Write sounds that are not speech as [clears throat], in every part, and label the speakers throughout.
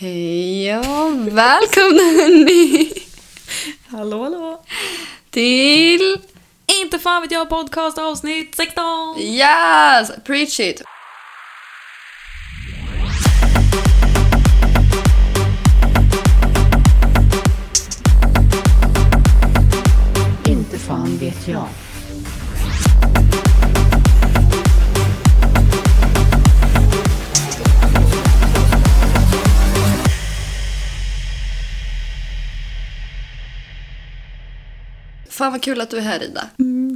Speaker 1: Hej ja, välkomna hörni
Speaker 2: Hallå hallå!
Speaker 1: till
Speaker 2: Inte fan vet jag podcast avsnitt 16!
Speaker 1: Yes, preach it!
Speaker 3: Inte fan vet jag.
Speaker 1: Fan vad kul att du är här Ida.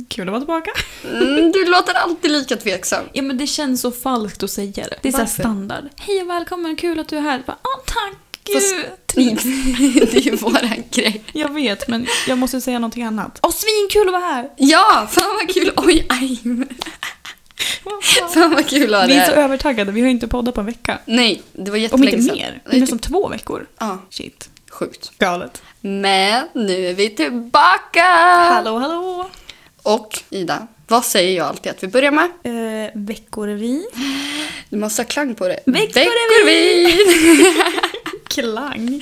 Speaker 2: Kul att vara tillbaka.
Speaker 1: Mm, du låter alltid lika tveksam.
Speaker 2: Ja men det känns så falskt att säga det. Det är såhär
Speaker 1: Varför?
Speaker 2: standard. Hej och välkommen, kul att du är här. Bara, ah, tack!
Speaker 1: Fast-
Speaker 2: Gud.
Speaker 1: Typ.
Speaker 2: [laughs]
Speaker 1: det är ju våran grej.
Speaker 2: Jag vet men jag måste säga någonting annat. Åh svinkul att vara här!
Speaker 1: Ja, fan vad kul! Oj, aj. Fan vad kul att ha det
Speaker 2: Vi är så
Speaker 1: här.
Speaker 2: övertaggade, vi har ju inte poddat på en vecka.
Speaker 1: Nej, det var
Speaker 2: Om inte
Speaker 1: jättelänge
Speaker 2: mer. Det är typ- nästan två veckor.
Speaker 1: Ja,
Speaker 2: Shit.
Speaker 1: sjukt.
Speaker 2: Galet.
Speaker 1: Men nu är vi tillbaka!
Speaker 2: Hallå hallå!
Speaker 1: Och Ida, vad säger jag alltid att vi börjar med?
Speaker 2: Eh, veckorevy.
Speaker 1: Du måste ha klang på det.
Speaker 2: Veckorevy!
Speaker 1: Veckorevy!
Speaker 2: Klang.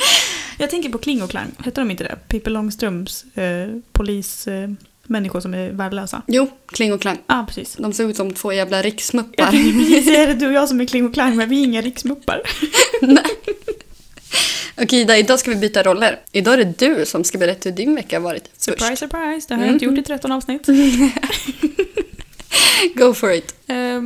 Speaker 2: Jag tänker på Kling och Klang. Hette de inte det? Pippi Långstrumps eh, polismänniskor eh, människor som är värdelösa.
Speaker 1: [laughs] Jo, kling och klang.
Speaker 2: Ja, ah, precis.
Speaker 1: De ser ut som två jävla
Speaker 2: Jag
Speaker 1: riksmuppar.
Speaker 2: tänkte precis säga det, du och jag som är Kling och Klang men vi är inga riksmuppar.
Speaker 1: [laughs] Okej Ida, idag ska vi byta roller. Idag är det du som ska berätta hur din vecka har varit.
Speaker 2: Surprise, surprise. Det har jag inte gjort i 13 avsnitt.
Speaker 1: Först. Go for it.
Speaker 2: Eh,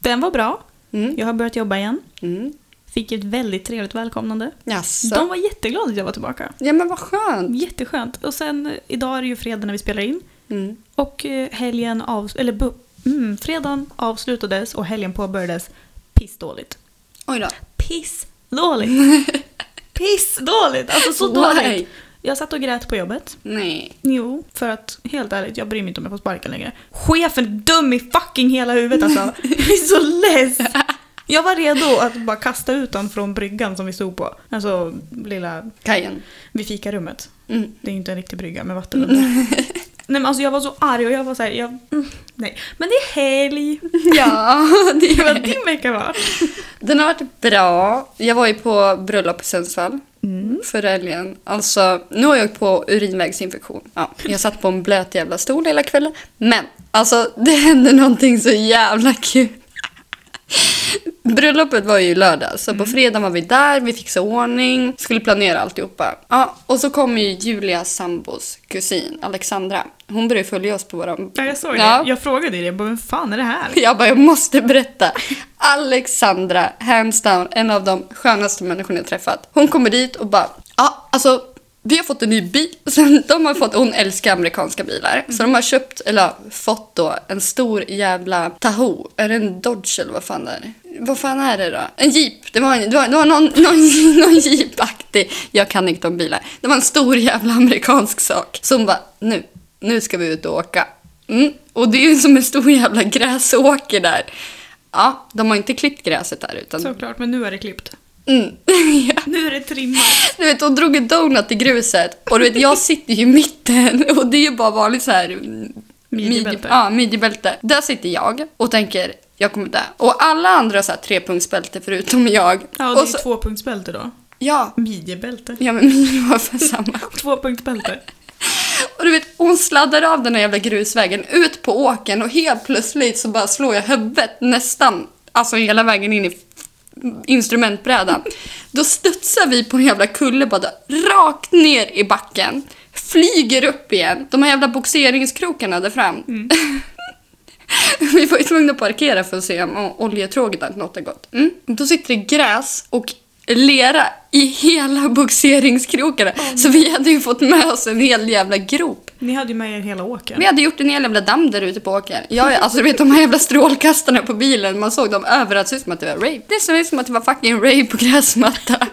Speaker 2: den var bra.
Speaker 1: Mm.
Speaker 2: Jag har börjat jobba igen.
Speaker 1: Mm.
Speaker 2: Fick ett väldigt trevligt välkomnande.
Speaker 1: Jaså?
Speaker 2: De var jätteglada att jag var tillbaka.
Speaker 1: Ja men vad skönt.
Speaker 2: Jätteskönt. Och sen, eh, idag är det ju fredag när vi spelar in.
Speaker 1: Mm.
Speaker 2: Och eh, helgen avs- eller bu- mm, fredagen avslutades och helgen påbörjades pissdåligt.
Speaker 1: Oj då.
Speaker 2: Pissdåligt! [laughs] Pissdåligt! Alltså så
Speaker 1: Why?
Speaker 2: dåligt! Jag satt och grät på jobbet.
Speaker 1: Nej.
Speaker 2: Jo, för att helt ärligt, jag bryr mig inte om jag får sparken längre. Chefen är dum i fucking hela huvudet alltså. Jag är så less! Jag var redo att bara kasta ut honom från bryggan som vi stod på. Alltså lilla,
Speaker 1: Kajen.
Speaker 2: vid fikarummet.
Speaker 1: Mm.
Speaker 2: Det är ju inte en riktig brygga med vatten under. [laughs] Nej men alltså jag var så arg och jag var såhär, jag... mm, Nej. Men det är helg!
Speaker 1: [laughs] Ja, det
Speaker 2: Det var
Speaker 1: är
Speaker 2: din vecka va?
Speaker 1: Den har varit bra. Jag var ju på bröllop i Sundsvall
Speaker 2: Mm.
Speaker 1: förra helgen. Alltså, nu har jag åkt på urinvägsinfektion. Ja, jag satt på en blöt jävla stol hela kvällen. Men, alltså det hände någonting så jävla kul. Bröllopet var ju lördag, så på fredag var vi där, vi fixade ordning, skulle planera alltihopa. Ja, och så kom ju Julias sambos kusin, Alexandra. Hon började följa oss på våran...
Speaker 2: Ja, jag såg
Speaker 1: Ja.
Speaker 2: det. Jag frågade dig det, jag bara, vem fan är det här?
Speaker 1: [laughs] Jag bara, jag måste berätta. Alexandra, hands down, en av de skönaste människorna jag träffat. Hon kommer dit och bara, ja, alltså vi har fått en ny bil. [laughs] Sen de har fått, hon älskar amerikanska bilar. Så de har köpt, eller ja, fått då, en stor jävla Tahoe. Är det en Dodge eller vad fan det är? Vad fan är det då? En Jeep. Det var, en, det var, det var någon, [laughs] någon, någon Jeep-aktig. Jag kan inte om bilar. Det var en stor jävla amerikansk sak. Så hon bara, nu, nu ska vi ut och åka. Mm. Och det är ju som en stor jävla gräsåker där. Ja, de har inte klippt gräset där utan...
Speaker 2: Såklart, men nu är det klippt.
Speaker 1: Mm. [laughs] Ja.
Speaker 2: Nu är det trimmat.
Speaker 1: Du vet, hon drog en donut i gruset och du vet, jag sitter ju i mitten [laughs] och det är ju bara vanligt så här... mm,
Speaker 2: Midjebälte.
Speaker 1: midje- Ja, midjebälte. Där sitter jag och tänker, jag kommer dö. Och alla andra har så här trepunktsbälte förutom jag.
Speaker 2: Ja, och det är
Speaker 1: och så,
Speaker 2: ju tvåpunktsbälte då.
Speaker 1: ja,
Speaker 2: Midjebälte.
Speaker 1: ja, men [laughs] min var för samma.
Speaker 2: Tvåpunktsbälte.
Speaker 1: Och du vet, hon sladdar av den här jävla grusvägen ut på åken och helt plötsligt så bara slår jag huvudet nästan, alltså hela vägen in i instrumentbrädan. Då studsar vi på en jävla kulle bara rakt ner i backen, flyger upp igen. De här jävla boxeringskrokarna där fram. [laughs] Vi var ju tvungna att parkera för att se om o- oljetråget hade något har gått. Mm. Då sitter det gräs och lera i hela boxeringskrokarna. Så vi hade ju fått med oss en hel jävla grop.
Speaker 2: Ni hade ju med er hela åken.
Speaker 1: Vi hade gjort en hel jävla damm där ute på åkern. Ja, ja, alltså du vet de här jävla strålkastarna på bilen, man såg dem överallt. Det såg ut som att det var rave. Det såg ut som att det var fucking rave på gräsmatta.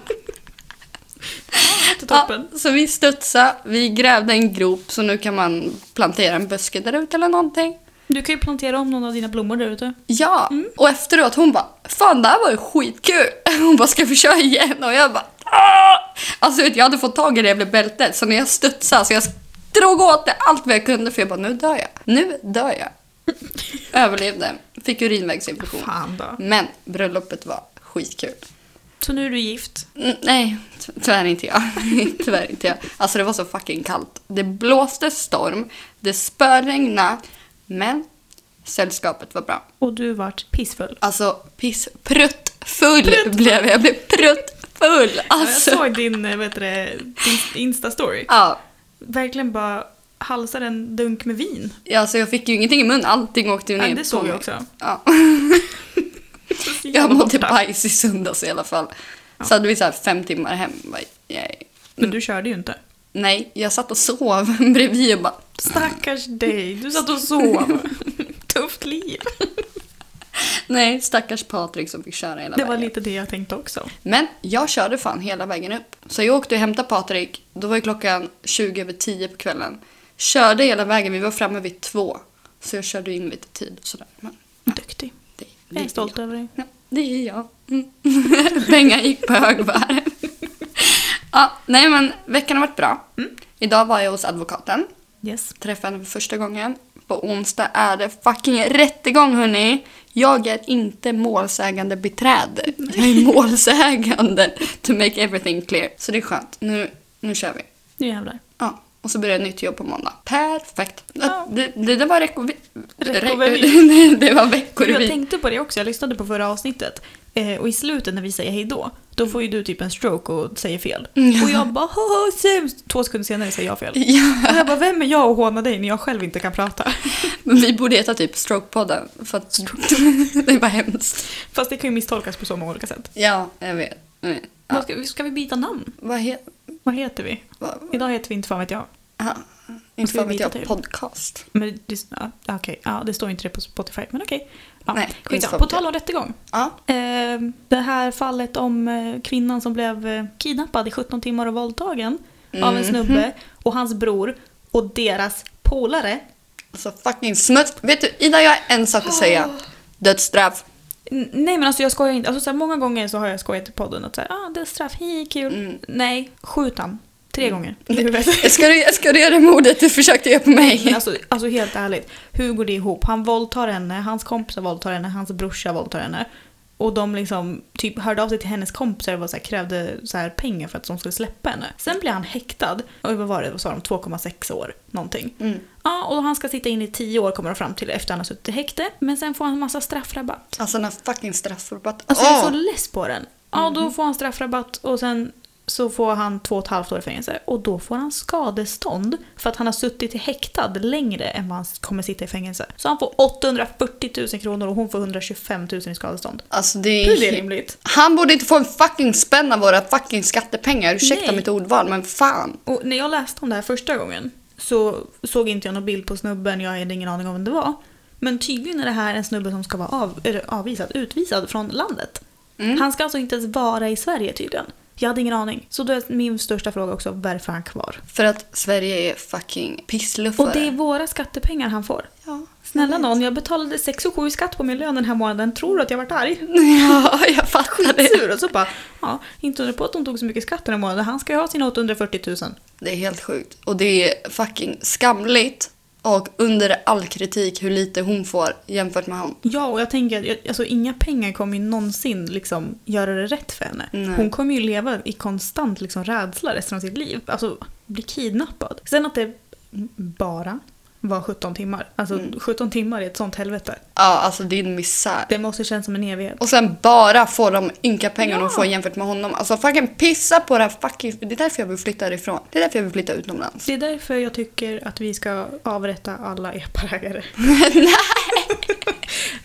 Speaker 2: Till toppen.
Speaker 1: Ja, så vi studsade, vi grävde en grop så nu kan man plantera en buske där ute eller någonting.
Speaker 2: Du kan ju plantera om någon av dina blommor där ute.
Speaker 1: Ja, och efteråt hon bara Fan det här var ju skitkul! [laughs] Hon bara ska vi köra igen? Och jag bara "Ah!" Alltså vet, du, jag hade fått tag i det jävla bältet så när jag studsade så jag drog åt det allt vad jag kunde för jag bara nu dör jag. Nu dör jag. Överlevde. Fick urinvägsinfektion.
Speaker 2: Fan då.
Speaker 1: Men bröllopet var skitkul.
Speaker 2: Så nu är du gift.
Speaker 1: Mm, Nej, ty- tyvärr inte jag. [laughs] tyvärr inte jag. Alltså det var så fucking kallt. Det blåste storm, det spöregnade, men sällskapet var bra.
Speaker 2: Och du vart pissfull.
Speaker 1: Alltså piss, pruttfull blev jag. Jag blev pruttfull!
Speaker 2: Ja,
Speaker 1: Alltså.
Speaker 2: Jag såg din, eh, vad heter det, din Insta-story.
Speaker 1: Ja,
Speaker 2: Verkligen bara halsade en dunk med vin.
Speaker 1: ja, alltså jag fick ju ingenting i mun, allting åkte ju ner
Speaker 2: Ja, det
Speaker 1: på
Speaker 2: såg
Speaker 1: mig.
Speaker 2: jag också.
Speaker 1: Ja.
Speaker 2: Så
Speaker 1: [laughs] Jag
Speaker 2: jävla
Speaker 1: mådde
Speaker 2: borta.
Speaker 1: bajs i söndags i alla fall. Så hade vi så här fem timmar hem. Bara, yay.
Speaker 2: Men du körde ju inte.
Speaker 1: Nej, jag satt och sov [laughs] bredvid och bara
Speaker 2: Stackars dig, du satt och sov. [laughs] Tufft liv.
Speaker 1: nej, stackars Patrik som fick köra hela
Speaker 2: Det var
Speaker 1: vägen.
Speaker 2: lite det jag tänkte också.
Speaker 1: Men jag körde fan hela vägen upp. Så jag åkte och hämtade Patrik, då var ju klockan 20 över 10 på kvällen. Körde hela vägen, vi var framme vid två. Så jag körde in lite tid och sådär. Men
Speaker 2: Duktig.
Speaker 1: det, det
Speaker 2: Jag är stolt över dig.
Speaker 1: Ja, det är jag. Mm. [laughs] Bengan gick på högvarv. [laughs] ja, nej men veckan har varit bra.
Speaker 2: Mm.
Speaker 1: Idag var jag hos advokaten.
Speaker 2: Yes.
Speaker 1: Träffade henne för första gången. På onsdag är det fucking rättegång hörni. Jag är inte målsägande beträde. Jag är målsägande. To make everything clear. Så det är skönt. Nu, nu kör vi.
Speaker 2: Nu jävlar.
Speaker 1: Ja, och så börjar ett nytt jobb på måndag. Perfekt.
Speaker 2: Ja.
Speaker 1: Det, det, det var reko...
Speaker 2: Rekovervi.
Speaker 1: Nej, [laughs] det var
Speaker 2: Jag
Speaker 1: veckorevy.
Speaker 2: tänkte på det också, jag lyssnade på förra avsnittet. Eh, och i slutet när vi säger hejdå,
Speaker 1: Mm.
Speaker 2: då får ju du typ en stroke och säger fel. Och jag bara haha sämst! Två sekunder senare säger jag fel.
Speaker 1: Ja.
Speaker 2: Och jag bara vem är jag och håna dig när jag själv inte kan prata? [laughs]
Speaker 1: Men vi borde heta typ strokepodden för att [laughs] det är bara hemskt.
Speaker 2: Fast det kan ju misstolkas på så många olika sätt.
Speaker 1: Ja, jag vet. Mm.
Speaker 2: Vad Ska, ska vi byta namn?
Speaker 1: Vad heter...
Speaker 2: Vad heter vi?
Speaker 1: Vad...
Speaker 2: Idag heter vi inte fan vet jag.
Speaker 1: aha. Inte
Speaker 2: Ska
Speaker 1: fan vet
Speaker 2: vi byta
Speaker 1: jag.
Speaker 2: till?
Speaker 1: Podcast.
Speaker 2: Men det, ja, okej. ja, det står inte det på Spotify, men okej. Ja,
Speaker 1: Nej,
Speaker 2: skitsamma.
Speaker 1: inte
Speaker 2: På
Speaker 1: Spotify.
Speaker 2: tal om rättegång.
Speaker 1: Ja.
Speaker 2: Eh, det här fallet om eh, kvinnan som blev eh, kidnappad i 17 timmar och våldtagen av en snubbe och hans bror och deras polare.
Speaker 1: Alltså fucking smuts. Vet du, Ida, jag har en sak att
Speaker 2: Ah.
Speaker 1: säga. Dödsstraff.
Speaker 2: N- Nej men alltså jag skojar inte. Alltså, så här, många gånger så har jag skojat i podden att så här, ah, det är straff, hi kul.
Speaker 1: Mm.
Speaker 2: Nej, skjut han. Tre gånger i huvudet.
Speaker 1: Ska du, ska du göra det mordet du försökte göra på
Speaker 2: Men
Speaker 1: [laughs] mig?
Speaker 2: alltså, alltså helt ärligt, hur går det ihop? Han våldtar henne, hans kompisar våldtar henne, hans brorsa våldtar henne. Och de liksom typ hörde av sig till hennes kompisar och var så här, krävde så här pengar för att de skulle släppa henne. Sen blir han häktad, och vad var det, vad sa de, 2,6 år någonting.
Speaker 1: Mm.
Speaker 2: Ja, och han ska sitta in i 10 år kommer de fram till efter han har suttit i häkte. Men sen får han en massa straffrabatt.
Speaker 1: Alltså den här fucking straffrabatten.
Speaker 2: Alltså jag är
Speaker 1: Åh!
Speaker 2: så less på den. Ja, då får han straffrabatt och sen så får han två och ett halvt år i fängelse. Och då får han skadestånd för att han har suttit i häktad längre än vad han kommer sitta i fängelse. Så han får 840 000 kronor och hon får 125 000 i skadestånd.
Speaker 1: Alltså det är...
Speaker 2: Hur är det rimligt?
Speaker 1: Han borde inte få en fucking spänn av våra fucking skattepengar. Ursäkta
Speaker 2: Nej.
Speaker 1: mitt ordval, men fan.
Speaker 2: Och när jag läste om det här första gången så såg inte jag någon bild på snubben, jag hade ingen aning om vem det var. Men tydligen är det här en snubbe som ska vara av, eller avvisad, utvisad från landet. Han ska alltså inte ens vara i Sverige tydligen. Jag hade ingen aning. Så då är min största fråga också, varför är han kvar?
Speaker 1: För att Sverige är fucking pissluffare.
Speaker 2: Och det är våra skattepengar han får.
Speaker 1: Ja,
Speaker 2: Snälla någon, jag betalade 6 och 7 i skatt på min lön den här månaden. Tror du att jag varit arg?
Speaker 1: [laughs]
Speaker 2: [laughs]
Speaker 1: Ja, jag fattar det.
Speaker 2: Sur och så bara, ja, inte undra på att de tog så mycket skatt den här månaden. Han ska ju ha sina 840 000.
Speaker 1: Det är helt sjukt. Och det är fucking skamligt och under all kritik hur lite hon får jämfört med honom.
Speaker 2: Ja, och jag tänker att jag- alltså, inga pengar kommer ju någonsin liksom, göra det rätt för henne.
Speaker 1: Nej.
Speaker 2: Hon kommer ju leva i konstant liksom, rädsla resten av sitt liv. Alltså, bli kidnappad. Sen att det bara var 17 timmar. Alltså 17 timmar är ett sånt helvete.
Speaker 1: Ja, alltså det är en misär.
Speaker 2: Det måste kännas som en evighet.
Speaker 1: Och sen bara få de ynka pengarna hon
Speaker 2: Ja.
Speaker 1: får jämfört med honom. Alltså fucking pissa på det här fucking... Det är därför jag vill flytta härifrån. Det är därför jag vill flytta utomlands.
Speaker 2: Det är därför jag tycker att vi ska avrätta alla eparägare.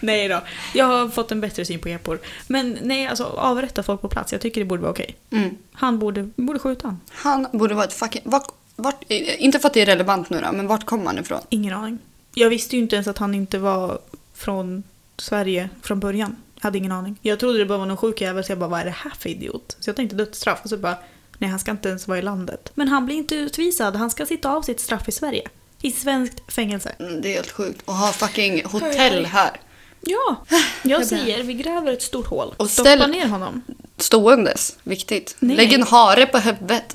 Speaker 2: nej då, jag har fått en bättre syn på epor. Men nej, alltså avrätta folk på plats. Jag tycker det borde vara okej.
Speaker 1: Mm.
Speaker 2: Han borde, borde skjuta han.
Speaker 1: Han borde vara ett fucking... Vart, vart, inte för att det är relevant nu då, men vart kommer han ifrån?
Speaker 2: Ingen aning. Jag visste ju inte ens att han inte var från Sverige från början. Jag hade ingen aning. Jag trodde det bara var någon sjuk jävel så jag bara vad är det här för idiot? Så jag tänkte dödsstraff och så bara nej han ska inte ens vara i landet. Men han blir inte utvisad, han ska sitta av sitt straff i Sverige. I svenskt fängelse.
Speaker 1: Mm, Det är helt sjukt. Och ha fucking hotell här.
Speaker 2: Ja, [sighs] jag säger vi gräver ett stort hål.
Speaker 1: Och
Speaker 2: Stoppa
Speaker 1: ställ-
Speaker 2: ner honom. [laughs]
Speaker 1: Ståendes. Viktigt.
Speaker 2: Nej.
Speaker 1: Lägg en hare på huvudet.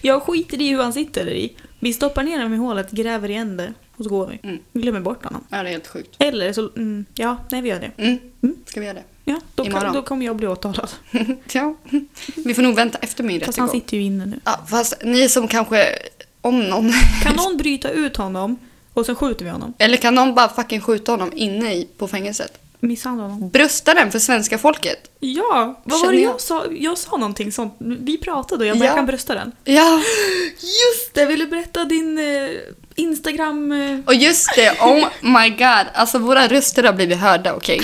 Speaker 2: jag skiter i hur han sitter i. Vi stoppar ner honom i hålet, gräver igen det och så går vi.
Speaker 1: Mm.
Speaker 2: Glömmer bort honom.
Speaker 1: Ja, det är helt sjukt.
Speaker 2: Eller så, mm, ja, nej vi gör det.
Speaker 1: Mm.
Speaker 2: Mm.
Speaker 1: Ska vi göra det? [laughs]
Speaker 2: Ja, då,
Speaker 1: Imorgon.
Speaker 2: kan, då kommer jag bli [laughs] åtalad.
Speaker 1: Ja, vi får nog vänta efter min
Speaker 2: Fast han
Speaker 1: rättegång.
Speaker 2: sitter ju inne nu.
Speaker 1: Ja, fast ni som kanske, om någon, [laughs]
Speaker 2: Kan någon bryta ut honom och sen skjuter vi honom?
Speaker 1: eller kan någon bara fucking skjuta honom inne i, på fängelset?
Speaker 2: Misshandla honom?
Speaker 1: Brösta den för svenska folket.
Speaker 2: Ja, vad var
Speaker 1: Känner
Speaker 2: det
Speaker 1: jag.
Speaker 2: jag sa? Jag sa någonting sånt. Vi pratade och jag bara,
Speaker 1: Ja.
Speaker 2: jag kan brösta den.
Speaker 1: Ja,
Speaker 2: Just det, vill du berätta din eh, Instagram... Eh,
Speaker 1: och just det, oh my god, alltså våra röster har blivit hörda, [laughs] okej?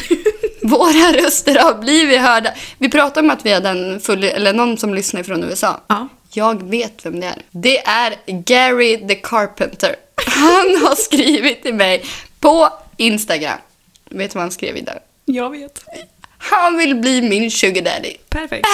Speaker 1: Våra röster har blivit hörda. Vi pratade om att vi hade en full, eller någon som lyssnar från USA.
Speaker 2: ja.
Speaker 1: Jag vet vem det är. Det är Gary the Carpenter. Han har skrivit till mig på Instagram. Vet du vad han skrev idag?
Speaker 2: Jag vet.
Speaker 1: Han vill bli min sugar daddy.
Speaker 2: Perfekt.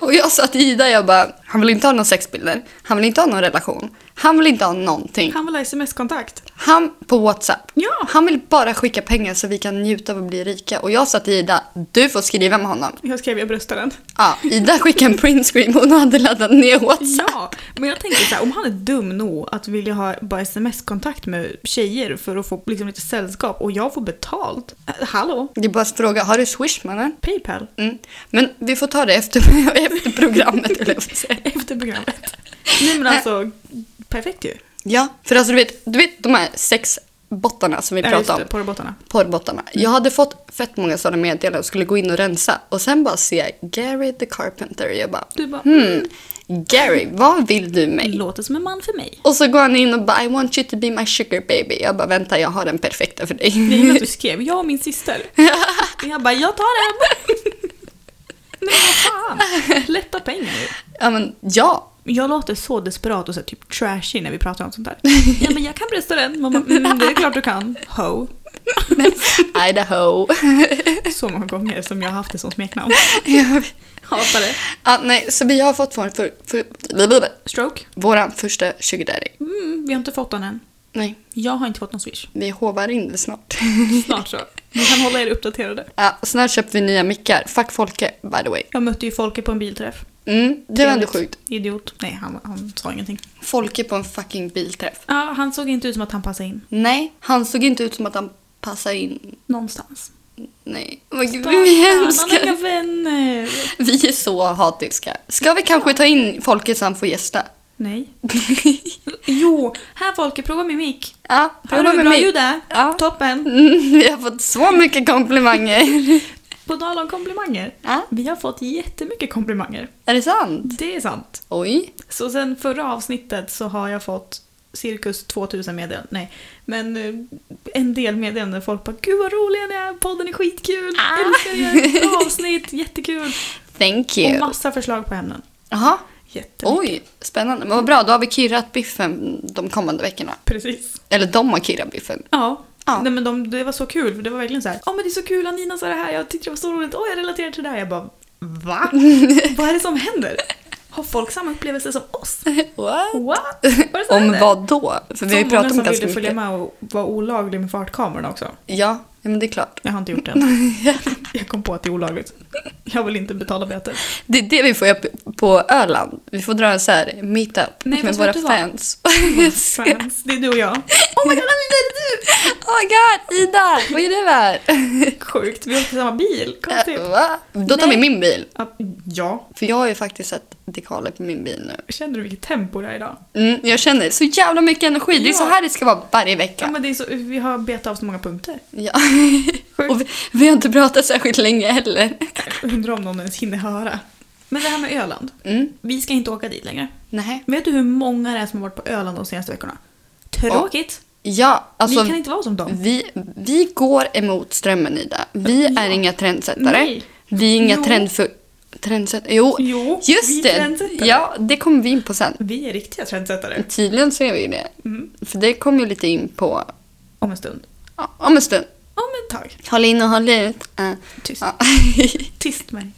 Speaker 1: Och jag sa till Ida, jag bara, han vill inte ha några sexbilder. Han vill inte ha någon relation. Han vill inte ha någonting.
Speaker 2: Han vill ha sms-kontakt.
Speaker 1: Han på WhatsApp.
Speaker 2: Ja.
Speaker 1: Han vill bara skicka pengar så vi kan njuta av att bli rika. Och jag sa till Ida, du får skriva med honom.
Speaker 2: Jag skrev jag bröstar den.
Speaker 1: Ja, Ida skickade en printscreen hon hade laddat ner WhatsApp.
Speaker 2: Ja, men jag tänker så här, om han är dum nog att vilja ha bara sms-kontakt med tjejer för att få liksom, lite sällskap och jag får betalt. Eh, hallå?
Speaker 1: Det är bara att fråga, har du swish mannen?
Speaker 2: Paypal?
Speaker 1: Mm. Men vi får ta det efter, [laughs] efter programmet, eller jag får säga.
Speaker 2: [laughs] Efter programmet. Nej men alltså, perfekt ju.
Speaker 1: Ja, för alltså du vet, du vet de här sexbottarna som vi
Speaker 2: Ja, just
Speaker 1: pratade
Speaker 2: det, Mm.
Speaker 1: om.
Speaker 2: porrbottarna.
Speaker 1: Porrbottarna. Jag hade fått fett många sådana meddelanden och skulle gå in och rensa. Och sen bara se Gary the Carpenter. Jag bara,
Speaker 2: Du bara,
Speaker 1: hmm, Gary, vad vill du mig?
Speaker 2: låter som en man för mig.
Speaker 1: Och så går han in och bara, I want you to be my sugar baby. Jag bara, vänta, jag har den perfekta för
Speaker 2: Det är
Speaker 1: dig. [laughs]
Speaker 2: ju att du skrev, jag och min [laughs] syster. Jag bara, jag tar den! [laughs] Nej vad fan, lätta pengar ju.
Speaker 1: ja, men ja.
Speaker 2: Jag låter så desperat och så här, typ trashy när vi pratar om sånt där. Ja men jag kan brösta den. Mamma, mm, det är klart du kan. Ho.
Speaker 1: Idaho. [laughs]
Speaker 2: Så många gånger som jag har haft det som [laughs] smeknamn.
Speaker 1: Jag vet.
Speaker 2: Hatar det.
Speaker 1: ja, nej, så vi har fått vår, för, för,
Speaker 2: Stroke?
Speaker 1: våran första sugar daddy.
Speaker 2: Mm, vi har inte fått den än.
Speaker 1: Nej,
Speaker 2: Jag har inte fått någon swish.
Speaker 1: vi hovar in det snart.
Speaker 2: Snart så. Ni kan hålla er uppdaterade.
Speaker 1: Ja, snart köper vi nya mickar. Fuck Folke, by the way.
Speaker 2: Jag mötte ju Folke på en bilträff.
Speaker 1: Mm, det var ändå sjukt.
Speaker 2: Idiot. Nej, han, han sa ingenting.
Speaker 1: Folke på en fucking bilträff.
Speaker 2: Ja, han såg inte ut som att han passade in.
Speaker 1: Nej, han såg inte ut som att han passade in.
Speaker 2: Någonstans.
Speaker 1: Nej, men gud,
Speaker 2: Stackarn,
Speaker 1: vi är
Speaker 2: Han har inga
Speaker 1: hemska.
Speaker 2: vänner.
Speaker 1: [laughs] Vi är så hatiska. Ska vi kanske ta in Folke så han får gästa? [laughs]
Speaker 2: Nej. Jo, här Folke, prova min mick.
Speaker 1: ja,
Speaker 2: Har
Speaker 1: prova
Speaker 2: du
Speaker 1: med
Speaker 2: bra
Speaker 1: mig.
Speaker 2: ljud där?
Speaker 1: Ja. [laughs]
Speaker 2: Toppen.
Speaker 1: Mm, vi har fått så mycket komplimanger. [laughs]
Speaker 2: På tal om komplimanger.
Speaker 1: Ja.
Speaker 2: Vi har fått jättemycket komplimanger.
Speaker 1: Är det sant?
Speaker 2: Det är sant.
Speaker 1: Oj.
Speaker 2: Så sen förra avsnittet så har jag fått cirkus 2000 meddelanden. Nej, men eh, en del meddelanden. där Folk bara “Gud vad roliga ni är, podden är skitkul,
Speaker 1: Ah.
Speaker 2: älskar er, bra avsnitt, jättekul”
Speaker 1: Thank
Speaker 2: och
Speaker 1: you.
Speaker 2: massa förslag på ämnen.
Speaker 1: Jaha.
Speaker 2: Jättemycket.
Speaker 1: Oj, spännande. Men vad bra, då har vi kirrat biffen de kommande veckorna.
Speaker 2: Precis.
Speaker 1: Eller de har kirrat biffen.
Speaker 2: Ja.
Speaker 1: Ja.
Speaker 2: Nej, men de, det var så kul, för det var verkligen så här. “Åh men det är så kul, Anina sa det här, jag tyckte det var så roligt, åh jag relaterar till det här”. Jag bara
Speaker 1: [laughs]
Speaker 2: “Va? vad är det som händer? Har folk samma upplevelse som oss?
Speaker 1: What?
Speaker 2: [laughs] What? Vad är det som
Speaker 1: Om
Speaker 2: händer?”
Speaker 1: vad då? För vi har ju
Speaker 2: Så
Speaker 1: pratat om
Speaker 2: många som
Speaker 1: ganska
Speaker 2: ville följa
Speaker 1: mycket.
Speaker 2: med och vara olaglig med fartkamerorna också.
Speaker 1: Ja, ja, men det är klart.
Speaker 2: Jag har inte
Speaker 1: [laughs]
Speaker 2: gjort det än. Jag kom på att det är olagligt. Jag vill inte betala böter.
Speaker 1: Det är det vi får göra p- på Öland. Vi får dra en så här meetup
Speaker 2: Nej,
Speaker 1: med
Speaker 2: fast
Speaker 1: våra
Speaker 2: vet du vad? [laughs] Oh
Speaker 1: fans.
Speaker 2: Friends, det är du
Speaker 1: [laughs]
Speaker 2: och jag.
Speaker 1: oh my god, Ida, är det du? Oh my god, Ida, vad är det här?
Speaker 2: Sjukt, vi åkte samma bil. Konstigt.
Speaker 1: Äh, [laughs] Va? Då tar
Speaker 2: Nej.
Speaker 1: vi min bil.
Speaker 2: Ja, Ja,
Speaker 1: För jag har ju faktiskt sett dekaler på min bil nu.
Speaker 2: känner du vilket tempo det är idag?
Speaker 1: Mm, jag känner så jävla mycket energi. Det är
Speaker 2: Ja.
Speaker 1: så här det ska vara varje vecka.
Speaker 2: Ja, men det är så, vi har betat av så många punkter.
Speaker 1: Ja. [laughs]
Speaker 2: Sjukt.
Speaker 1: Och vi, vi har inte pratat särskilt länge heller.
Speaker 2: Undrar om någon ens hinner höra. Men det här med Öland.
Speaker 1: Mm.
Speaker 2: Vi ska inte åka dit längre.
Speaker 1: Nej.
Speaker 2: Vet du hur många det är som har varit på Öland de senaste veckorna? Tråkigt.
Speaker 1: Ja, alltså...
Speaker 2: vi kan inte vara som dem.
Speaker 1: Vi, vi går emot strömmen, Ida. Vi är inga trendsättare.
Speaker 2: Nej.
Speaker 1: Vi är inga
Speaker 2: Jo.
Speaker 1: trendfö... Trendsättare? Jo,
Speaker 2: Jo, vi
Speaker 1: just
Speaker 2: är
Speaker 1: det!
Speaker 2: trendsättare.
Speaker 1: Ja, det kommer vi in på sen.
Speaker 2: Vi är riktiga trendsättare.
Speaker 1: Tydligen så är vi ju det.
Speaker 2: Mm.
Speaker 1: För det kommer ju lite in på
Speaker 2: Om en stund.
Speaker 1: ja, om en stund.
Speaker 2: Om ett tag.
Speaker 1: Håll in och håll ut. Eh,
Speaker 2: Tyst.
Speaker 1: ja. [laughs]
Speaker 2: Tyst med dig.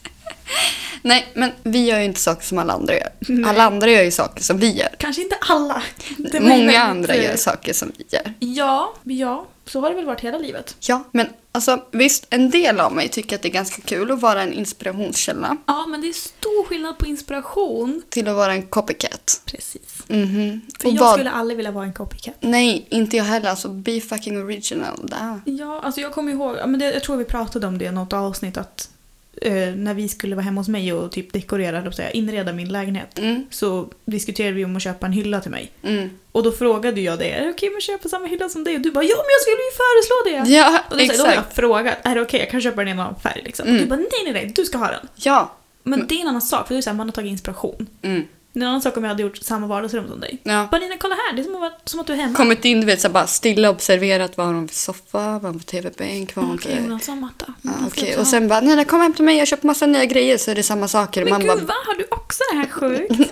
Speaker 1: Nej, men vi gör ju inte saker som alla andra gör.
Speaker 2: Nej.
Speaker 1: Alla andra gör ju saker som vi gör.
Speaker 2: Kanske inte alla. Det var ju
Speaker 1: Många
Speaker 2: väldigt,
Speaker 1: andra
Speaker 2: eh,
Speaker 1: gör saker som vi gör.
Speaker 2: Ja, ja. Så har det väl varit hela livet.
Speaker 1: Ja, men alltså visst, en del av mig tycker att det är ganska kul att vara en inspirationskälla
Speaker 2: Ja, men det är stor skillnad på inspiration.
Speaker 1: till att vara en copycat.
Speaker 2: Precis.
Speaker 1: Mhm.
Speaker 2: För
Speaker 1: Och
Speaker 2: jag
Speaker 1: vad-
Speaker 2: skulle aldrig vilja vara en copycat.
Speaker 1: Nej, inte jag heller. Alltså be fucking original. Där.
Speaker 2: Ja, alltså jag kommer ihåg, ja, men det, jag tror vi pratade om det i något avsnitt att eh, när vi skulle vara hemma hos mig och typ dekorera, eller säga, inreda min lägenhet
Speaker 1: Mm,
Speaker 2: så diskuterade vi om att köpa en hylla till mig.
Speaker 1: mm.
Speaker 2: Och då frågade jag dig, är det okej om jag köper samma hylla som dig? Och du bara, ja men jag skulle ju föreslå det!
Speaker 1: Ja,
Speaker 2: och då, sa jag- då har
Speaker 1: exakt.
Speaker 2: jag frågat, är det okej, jag kan köpa den i en annan färg liksom. Och
Speaker 1: Mm.
Speaker 2: du bara, nej nej nej, du ska ha den.
Speaker 1: Ja.
Speaker 2: Men det är en annan sak, för det är så här, man har tagit inspiration.
Speaker 1: Mm.
Speaker 2: Det är en annan sak om jag hade gjort samma vardagsrum som dig.
Speaker 1: ja.
Speaker 2: Bara Nina, kolla här, det är som att, vara- som att du är hemma.
Speaker 1: Kommit in, du vet, så här bara stilla observerat. Vad har hon för soffa? Vad har hon för tv-bänk? Vad har hon
Speaker 2: Okej, Mm,
Speaker 1: för...
Speaker 2: Jonas och matta.
Speaker 1: Ja, Ah, okej. Och sen bara, nej, nej, kom hem till mig. Jag har köpt massa nya grejer så är det samma saker.
Speaker 2: Men
Speaker 1: Man
Speaker 2: gud,
Speaker 1: bara,
Speaker 2: vad har du också det här sjukt?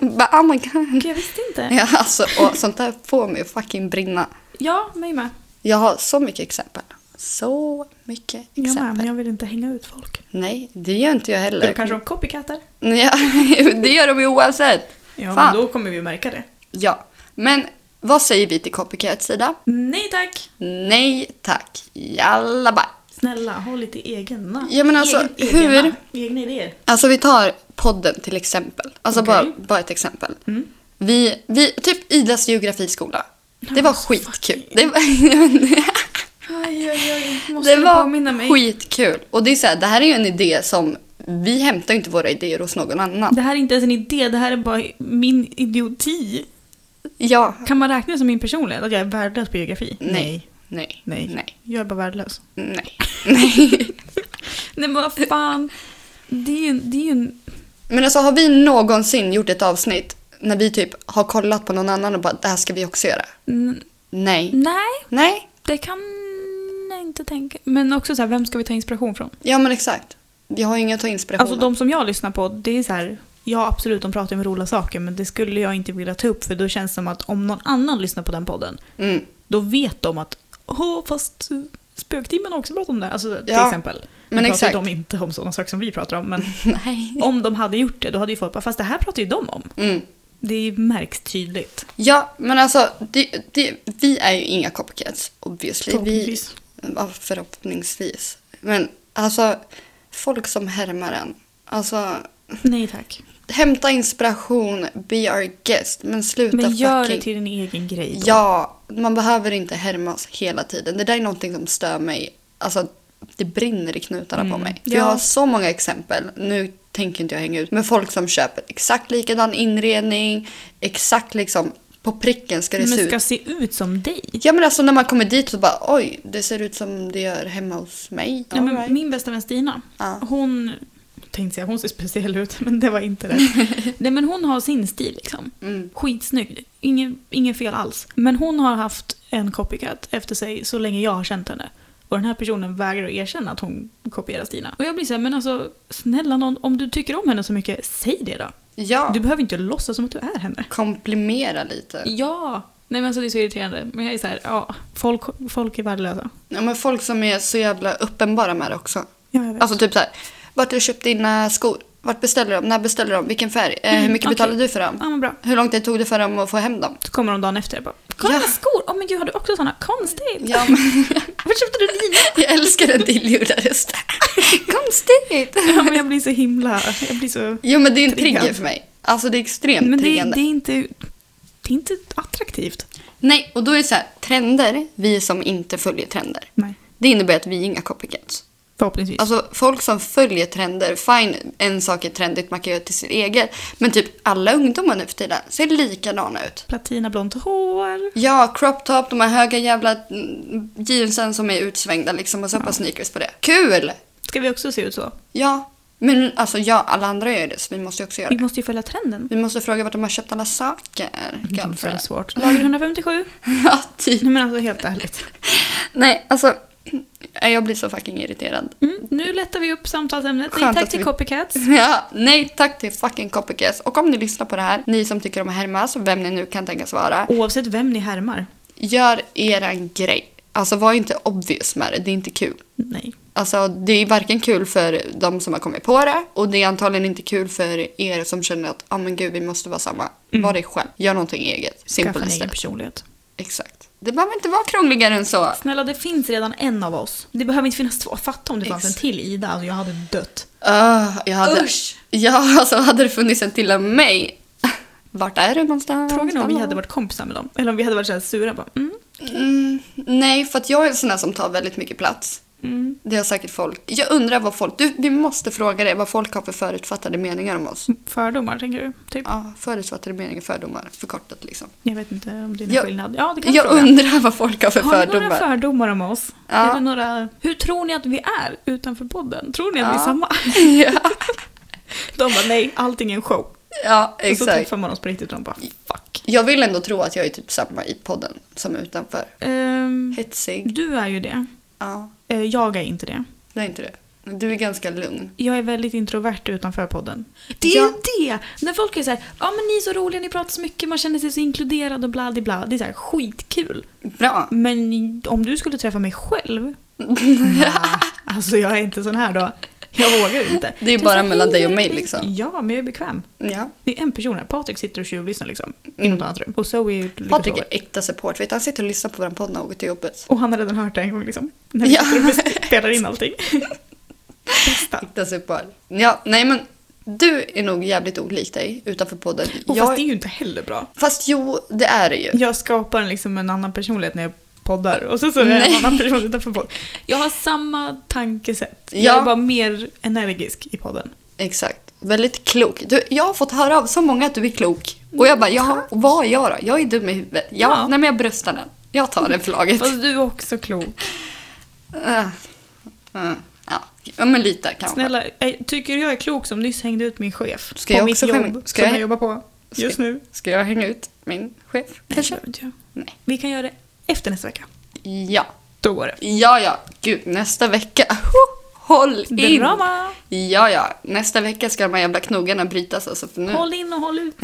Speaker 1: [laughs] bara, oh my god.
Speaker 2: Gud, jag visste inte.
Speaker 1: [laughs] Ja, alltså, och sånt där får mig att fucking brinna.
Speaker 2: Ja, mig med.
Speaker 1: Jag har så mycket exempel. Så mycket
Speaker 2: Jag
Speaker 1: exempel.
Speaker 2: med, men jag vill inte hänga ut folk.
Speaker 1: Nej, det gör inte jag heller.
Speaker 2: Eller kanske de copycatar?
Speaker 1: Ja, [laughs] det gör de ju oavsett.
Speaker 2: Ja,
Speaker 1: Fan.
Speaker 2: men då kommer vi märka det.
Speaker 1: Ja, men vad säger vi till copycats sida?
Speaker 2: Nej tack!
Speaker 1: Nej tack, jalla bye.
Speaker 2: Snälla, håll lite egna.
Speaker 1: Ja, men alltså, hur-
Speaker 2: Egna, egna idéer.
Speaker 1: Alltså vi tar podden till exempel. Alltså
Speaker 2: Okej. Mm.
Speaker 1: bara, bara ett exempel. Vi, vi, typ Idas geografiskola. Det var
Speaker 2: alltså,
Speaker 1: skitkul.
Speaker 2: fucking-
Speaker 1: Det var, [laughs]
Speaker 2: Aj, aj, aj. Måste
Speaker 1: det
Speaker 2: du påminna
Speaker 1: var
Speaker 2: mig?
Speaker 1: skitkul. Och det är så här, det här är ju en idé som vi hämtar ju inte våra idéer hos någon annan.
Speaker 2: Det här är inte ens en idé, det här är bara min idioti.
Speaker 1: Ja.
Speaker 2: Kan man räkna det som min personlighet? Att jag är värdelös på geografi?
Speaker 1: Nej. Nej.
Speaker 2: Nej.
Speaker 1: Nej.
Speaker 2: Jag är bara värdelös.
Speaker 1: Nej. Nej.
Speaker 2: Nej men vad fan. Det är ju en... Det är ju en...
Speaker 1: Men alltså har vi någonsin gjort ett avsnitt när vi typ har kollat på någon annan och bara det här ska vi också göra?
Speaker 2: n-
Speaker 1: Nej.
Speaker 2: Nej,
Speaker 1: Nej.
Speaker 2: det kan jag inte tänka. Men också så här, vem ska vi ta inspiration från?
Speaker 1: Ja men exakt. Vi har ju inget att ta inspiration
Speaker 2: Alltså de som jag lyssnar på, det är så här, ja absolut de pratar ju om roliga saker men det skulle jag inte vilja ta upp för då känns det som att om någon annan lyssnar på den podden,
Speaker 1: Mm.
Speaker 2: då vet de att åh fast eh, spöktimmen har också pratat om det. Alltså till
Speaker 1: Ja,
Speaker 2: exempel. Nu
Speaker 1: men
Speaker 2: pratar
Speaker 1: exakt.
Speaker 2: ju de inte om sådana saker som vi pratar om men
Speaker 1: [laughs] Nej.
Speaker 2: om de hade gjort det då hade ju folk bara fast det här pratar ju de om.
Speaker 1: Mm.
Speaker 2: Det är ju- märks tydligt.
Speaker 1: Ja men alltså det, det, vi är ju inga copycats obviously.
Speaker 2: Förhoppningsvis.
Speaker 1: Vi, ja, förhoppningsvis. Men alltså folk som härmar en. Alltså
Speaker 2: Nej tack.
Speaker 1: hämta inspiration, be our guest men sluta
Speaker 2: Men gör
Speaker 1: fucking
Speaker 2: det till din egen grej då.
Speaker 1: Ja, man behöver inte härmas hela tiden. Det där är någonting som stör mig. Alltså, det brinner i knutarna på
Speaker 2: Mm.
Speaker 1: mig.
Speaker 2: Ja.
Speaker 1: Jag har så många exempel. Nu tänker inte jag hänga ut. Men folk som köper exakt likadan inredning. Exakt liksom på pricken ska det
Speaker 2: Men
Speaker 1: se
Speaker 2: ska
Speaker 1: ut.
Speaker 2: se ut som dig.
Speaker 1: Ja men alltså när man kommer dit så bara oj, det ser ut som det gör hemma hos mig.
Speaker 2: Nej, men
Speaker 1: Alright.
Speaker 2: Min bästa vän Stina,
Speaker 1: Ja.
Speaker 2: hon tänkte säga hon ser speciell ut, [laughs] men det var inte
Speaker 1: [laughs]
Speaker 2: det. Nej, men hon har sin stil liksom.
Speaker 1: Mm.
Speaker 2: Skitsnygg. Inget ingen fel alls. Men hon har haft en copycat efter sig så länge jag har känt henne. Och den här personen vägrar att erkänna att hon kopierar Stina. Och jag blir såhär, men alltså snälla någon, om du tycker om henne så mycket, säg det då.
Speaker 1: Ja, Äh.
Speaker 2: Du behöver inte låtsas som att du är henne.
Speaker 1: komplimera lite.
Speaker 2: Ja! Nej men alltså det är så irriterande. Men jag är såhär, ja, folk, folk är värdelösa.
Speaker 1: Ja men folk som är så jävla uppenbara med det också.
Speaker 2: Ja, jag vet.
Speaker 1: Alltså typ så här, vart har du köpt dina skor? Vart beställer du dem? När beställer du dem? Vilken färg? Eh, hur mycket
Speaker 2: Mm, okej.
Speaker 1: betalade du för dem?
Speaker 2: ja men bra.
Speaker 1: Hur lång tid tog det för dem att få hem dem?
Speaker 2: Så kommer de dagen efter och bara “Kolla
Speaker 1: Ja.
Speaker 2: mina skor! Åh men gud, har du också såna? Konstigt! [laughs]
Speaker 1: Ja, men,
Speaker 2: Var köpte du
Speaker 1: [laughs]
Speaker 2: dina?”
Speaker 1: jag älskar den tillgjordarösten.
Speaker 2: [laughs]
Speaker 1: Konstigt!
Speaker 2: Ja men jag blir så himla... Jag blir så...
Speaker 1: Jo men det är en trigger
Speaker 2: Triggad.
Speaker 1: för mig. Alltså det är extremt
Speaker 2: Men det,
Speaker 1: triggande.
Speaker 2: det är inte... Det är inte attraktivt.
Speaker 1: Nej, och då är det så här, trender, vi som inte följer trender.
Speaker 2: Nej.
Speaker 1: Det innebär att vi är inga copycats.
Speaker 2: Förhoppningsvis.
Speaker 1: Alltså folk som följer trender, fine, en sak är trendigt, man kan göra till sitt eget. Men typ alla ungdomar nu för tiden ser likadana ut.
Speaker 2: Platinablont hår.
Speaker 1: Ja, crop top, de här höga jävla mm, jeansen som är utsvängda liksom och så ett par sneakers på det. Kul!
Speaker 2: Ska vi också se ut så?
Speaker 1: Ja, men alltså ja, alla andra gör det så vi måste ju också göra
Speaker 2: Vi
Speaker 1: det.
Speaker 2: måste ju följa trenden. Mm,
Speaker 1: Vi måste fråga vart de har köpt alla saker.
Speaker 2: Det är
Speaker 1: Kanske.
Speaker 2: svårt. Lager 157?
Speaker 1: [laughs] Ja, typ.
Speaker 2: Nej men alltså helt ärligt.
Speaker 1: Nej, alltså. [clears throat] nej, Jag blir så fucking irriterad. [laughs]
Speaker 2: Mm, nu lättar vi upp samtalsämnet. Nej,
Speaker 1: Skönt
Speaker 2: tack
Speaker 1: att
Speaker 2: till
Speaker 1: vi-
Speaker 2: copycats.
Speaker 1: Ja, nej tack till fucking copycats. Och om ni lyssnar på det här, ni som tycker om att härmas, vem ni nu kan tänkas vara,
Speaker 2: Oavsett vem ni härmar.
Speaker 1: gör eran grej. Alltså var inte obvious med det, det är inte kul.
Speaker 2: Nej.
Speaker 1: Alltså det är varken kul för de som har kommit på det och det är antagligen inte kul för er som känner att ah, men gud vi måste vara samma. Var dig själv, gör någonting eget.
Speaker 2: Mm. Skaffa
Speaker 1: Simple
Speaker 2: en
Speaker 1: as
Speaker 2: egen
Speaker 1: that.
Speaker 2: personlighet.
Speaker 1: Exakt. Det behöver inte vara krångligare än så.
Speaker 2: Snälla, det finns redan en av oss. Det behöver inte finnas två. Fatta om det fanns en till Ida, alltså jag hade dött.
Speaker 1: Ah, jag hade,
Speaker 2: Usch!
Speaker 1: Ja, alltså hade det funnits en till av mig. [laughs] Vart är du någonstans?
Speaker 2: Frågan är om vi hade varit kompisar med dem. Eller om vi hade varit så här sura. Bara, mm,
Speaker 1: Mm, nej, för att jag är en sån där som tar väldigt mycket plats.
Speaker 2: mm.
Speaker 1: Det har säkert folk. Jag undrar vad folk... Du, vi måste fråga det, vad folk har för förutfattade meningar om oss.
Speaker 2: Mm. Fördomar, tänker du? Typ.
Speaker 1: Ja, förutfattade meningar, fördomar, förkortat liksom.
Speaker 2: Jag vet inte om det är någon
Speaker 1: Jag-
Speaker 2: skillnad. Ja, det kan
Speaker 1: Jag
Speaker 2: fråga.
Speaker 1: undrar vad folk har för
Speaker 2: Har ni några
Speaker 1: fördomar.
Speaker 2: fördomar om oss?
Speaker 1: Ja.
Speaker 2: Är det några... Hur tror ni att vi är utanför podden? Tror ni att vi är
Speaker 1: Ja.
Speaker 2: samma?
Speaker 1: [laughs]
Speaker 2: [laughs]
Speaker 1: ja,
Speaker 2: De bara nej, allting är en show.
Speaker 1: ja,
Speaker 2: Och så
Speaker 1: exakt.
Speaker 2: träffar man oss på riktigt och de bara fuck.
Speaker 1: Jag vill ändå tro att jag är typ samma i podden som utanför.
Speaker 2: Ehm,
Speaker 1: Hetsig.
Speaker 2: du är ju det.
Speaker 1: Ja,
Speaker 2: Eh, jag är inte det.
Speaker 1: det är inte det. Du är ganska lugn.
Speaker 2: Jag är väldigt introvert utanför podden. Det är
Speaker 1: Ja.
Speaker 2: det! När folk är så här, ja men ni är så roliga, ni pratar så mycket, man känner sig så inkluderad och bla di, bla. Det är så här skitkul.
Speaker 1: Bra.
Speaker 2: Men om du skulle träffa mig [laughs] själv? nej, alltså jag är inte sån här då. Jag vågar ju inte.
Speaker 1: Det är
Speaker 2: så
Speaker 1: bara
Speaker 2: här,
Speaker 1: mellan dig och mig,
Speaker 2: hej,
Speaker 1: liksom.
Speaker 2: Ja, men jag är bekväm.
Speaker 1: Ja.
Speaker 2: Det är en person här. Patrik sitter och tjuvlyssnar liksom. I
Speaker 1: Mm.
Speaker 2: något annat rum. Och Zoe ligger och
Speaker 1: Patrik
Speaker 2: sover.
Speaker 1: är äkta support. Vet du, han sitter och lyssnar på vår podd när han åker till jobbet.
Speaker 2: Och han har redan hört det en gång liksom. När vi
Speaker 1: Ja.
Speaker 2: sitter och bes- spelar in [laughs] allting. Bästa.
Speaker 1: Äkta support. Ja, nej men du är nog jävligt olik dig utanför podden.
Speaker 2: Och
Speaker 1: Jag-
Speaker 2: fast det är ju inte heller bra.
Speaker 1: fast jo, det är det ju.
Speaker 2: Jag skapar liksom en annan personlighet när jag poddar och sen så är det en
Speaker 1: Nej.
Speaker 2: annan person utanför podd. Jag har samma tankesätt. Jag
Speaker 1: Ja.
Speaker 2: är bara mer energisk i podden.
Speaker 1: Exakt. Väldigt klok. Du, jag har fått höra av så många att du är klok. Och jag bara, ja, vad är jag då? Jag är dum i huvudet. Ja,
Speaker 2: Mm, Ja. Mm.
Speaker 1: nej men jag bröstar den. Jag tar den för laget.
Speaker 2: Fast du är också klok.
Speaker 1: Äh, äh, ja. ja, men lite kanske.
Speaker 2: Snälla, eh, tycker du jag är klok som nyss hängde ut min chef
Speaker 1: Ska
Speaker 2: på
Speaker 1: jag
Speaker 2: mitt
Speaker 1: också
Speaker 2: jobb
Speaker 1: hänga- ska
Speaker 2: som jag,
Speaker 1: jag-
Speaker 2: jobbar på
Speaker 1: Ska-
Speaker 2: just nu?
Speaker 1: Ska jag hänga ut min chef? Kanske?
Speaker 2: Nej, det behöver inte jag.
Speaker 1: Nej.
Speaker 2: Vi kan göra det efter nästa vecka.
Speaker 1: Ja.
Speaker 2: Då går det.
Speaker 1: Ja, ja. Gud, nästa vecka. Ho, Håll in!
Speaker 2: Drama!
Speaker 1: Mm. Ja, ja. Nästa vecka ska de här jävla knogarna brytas alltså för nu.
Speaker 2: Håll in och
Speaker 1: [laughs]
Speaker 2: håll ut.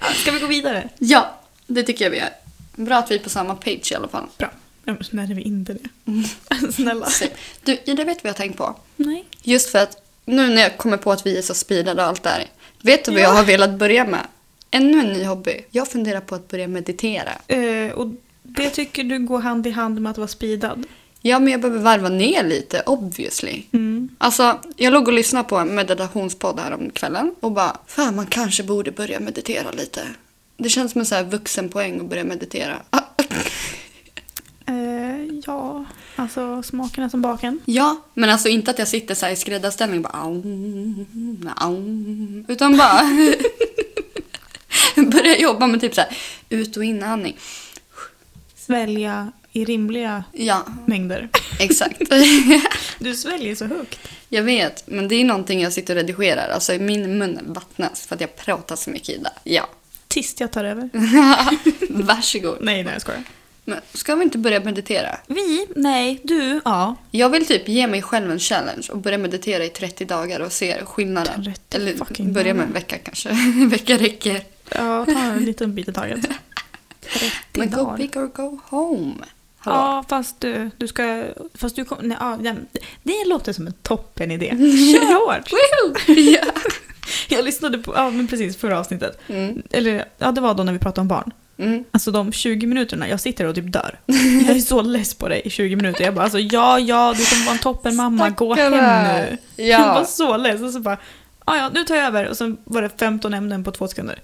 Speaker 2: Ja, Ska vi gå vidare?
Speaker 1: Ja, det tycker jag vi gör. Bra att vi är på samma page i alla fall.
Speaker 2: Bra. Ja, men Snälla, är vi inte det?
Speaker 1: Mm.
Speaker 2: [laughs] Snälla.
Speaker 1: Så- Du, Ida, vet du vad jag har tänkt på?
Speaker 2: Nej.
Speaker 1: Just för att nu när jag kommer på att vi är så speedade och allt det här. Vet du vad jag har velat börja med? Ännu en ny hobby. Jag funderar på att börja meditera.
Speaker 2: Eh, och det tycker du går hand i hand med att vara speedad?
Speaker 1: Ja, men jag behöver varva ner lite, obviously.
Speaker 2: Mm.
Speaker 1: Alltså, jag låg och lyssnade på en meditationspodd här om kvällen och bara, fan man kanske borde börja meditera lite. Det känns som en sån här vuxenpoäng att börja meditera. [laughs] Ah,
Speaker 2: Eh, ja, alltså smakerna som baken.
Speaker 1: Ja, men alltså inte att jag sitter så här i skräddarställning och bara aum, aum, utan bara [laughs] börjar jobba med typ så här ut och inandning.
Speaker 2: Svälja i rimliga
Speaker 1: Ja,
Speaker 2: mängder.
Speaker 1: exakt. [laughs]
Speaker 2: Du sväljer så högt.
Speaker 1: jag vet, men det är någonting jag sitter och redigerar. Alltså min mun vattnas för att jag pratar så mycket Ida. Ja, [laughs]
Speaker 2: Tyst, jag tar över.
Speaker 1: varsågod.
Speaker 2: Nej, nej jag skojar.
Speaker 1: Men ska vi inte börja meditera?
Speaker 2: Vi? Nej, du? Ja.
Speaker 1: Jag vill typ ge mig själv en challenge och börja meditera i 30 dagar och se skillnaden.
Speaker 2: 30
Speaker 1: Eller
Speaker 2: fucking
Speaker 1: börja med en vecka kanske. [laughs] en vecka räcker.
Speaker 2: Ja, ta en liten bit i [laughs] taget. 30
Speaker 1: Men go
Speaker 2: dagar.
Speaker 1: big or go home. Hallå.
Speaker 2: Ja, fast du, du ska... Fast du kom, nej, ja, nej, det låter som en toppen [laughs] idé. Kör hårt!
Speaker 1: Woohoo! [laughs] ja.
Speaker 2: Jag lyssnade på, ja men precis, förra avsnittet.
Speaker 1: Mm.
Speaker 2: Eller, ja det var då när vi pratade om barn.
Speaker 1: Mm.
Speaker 2: Alltså de 20 minuterna, jag sitter och typ [laughs] dör. Jag är så less på dig i 20 minuter. Jag bara alltså ja, ja, du kommer vara en toppen mamma, gå hem
Speaker 1: Stackarn.
Speaker 2: nu. Jag var
Speaker 1: Ja.
Speaker 2: så less och så bara, "Ah, ja ja, nu tar jag över. Och sen var det 15 ämnen på två [laughs] sekunder.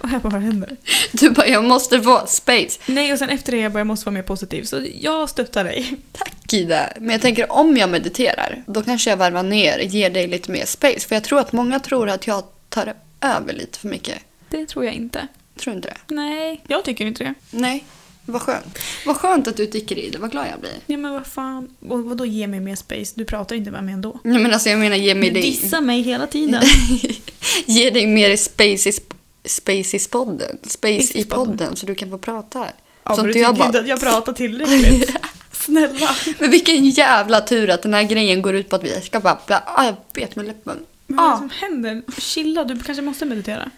Speaker 2: Och jag bara, vad händer?
Speaker 1: [laughs] Du bara, jag måste få space.
Speaker 2: Nej, och sen efter det jag bara, jag måste vara mer positiv. Så jag stöttar dig.
Speaker 1: Tack Ida. Men jag tänker om jag mediterar, då kanske jag varvar ner, ger dig lite mer space. För jag tror att många tror att jag tar över lite för mycket.
Speaker 2: Det tror jag inte.
Speaker 1: Tror du inte det?
Speaker 2: Nej. Jag tycker inte det.
Speaker 1: Nej. Vad skönt. Vad skönt att du tycker det, Ida. Vad glad jag blir.
Speaker 2: Ja men vad fan, och vadå ge mig mer space? Du pratar ju inte med mig ändå.
Speaker 1: Nej men alltså jag menar ge mig
Speaker 2: Du
Speaker 1: dig,
Speaker 2: dissar mig hela [laughs] tiden.
Speaker 1: ge dig mer space i, sp- space i podden. Space i
Speaker 2: Space-podden.
Speaker 1: podden så du kan få prata här.
Speaker 2: Ja,
Speaker 1: så
Speaker 2: men
Speaker 1: inte
Speaker 2: du tycker
Speaker 1: jag bara...
Speaker 2: inte att jag pratar [laughs] tillräckligt. Snälla.
Speaker 1: Men vilken jävla tur att den här grejen går ut på att vi ska bara... bla- Ah, jag bet med läppen.
Speaker 2: Men vad är det
Speaker 1: Ah.
Speaker 2: som händer? Chilla, du kanske måste meditera.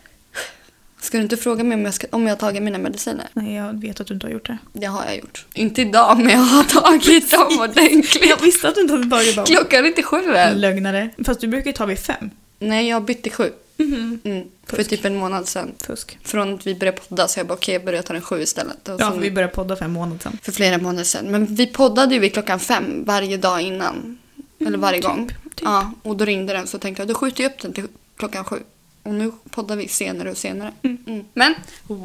Speaker 1: Ska du inte fråga mig om jag, ska, om jag har tagit mina mediciner?
Speaker 2: Nej, jag vet att du inte har gjort det.
Speaker 1: Det har jag gjort. Inte idag, men jag har tagit dem ordentligt.
Speaker 2: [laughs] Jag visste att du inte hade tagit dem.
Speaker 1: Klockan är inte sju än.
Speaker 2: Lögnare. Fast du brukar ju ta vid fem.
Speaker 1: Nej, jag bytte sju.
Speaker 2: Mhm.
Speaker 1: Mm. För
Speaker 2: Fusk.
Speaker 1: typ en månad sedan.
Speaker 2: Fusk.
Speaker 1: Från att vi började podda så jag bara okej, jag börjar ta den sju istället. Och
Speaker 2: Ja,
Speaker 1: sen-
Speaker 2: för vi började podda för en månad sedan.
Speaker 1: för flera månader sedan. Men vi poddade ju vid klockan fem varje dag innan.
Speaker 2: Mm,
Speaker 1: Eller varje
Speaker 2: typ,
Speaker 1: gång. Ja, och då ringde den så tänkte jag då skjuter jag upp den till klockan sju. Och nu poddar vi senare och senare. Mm. Men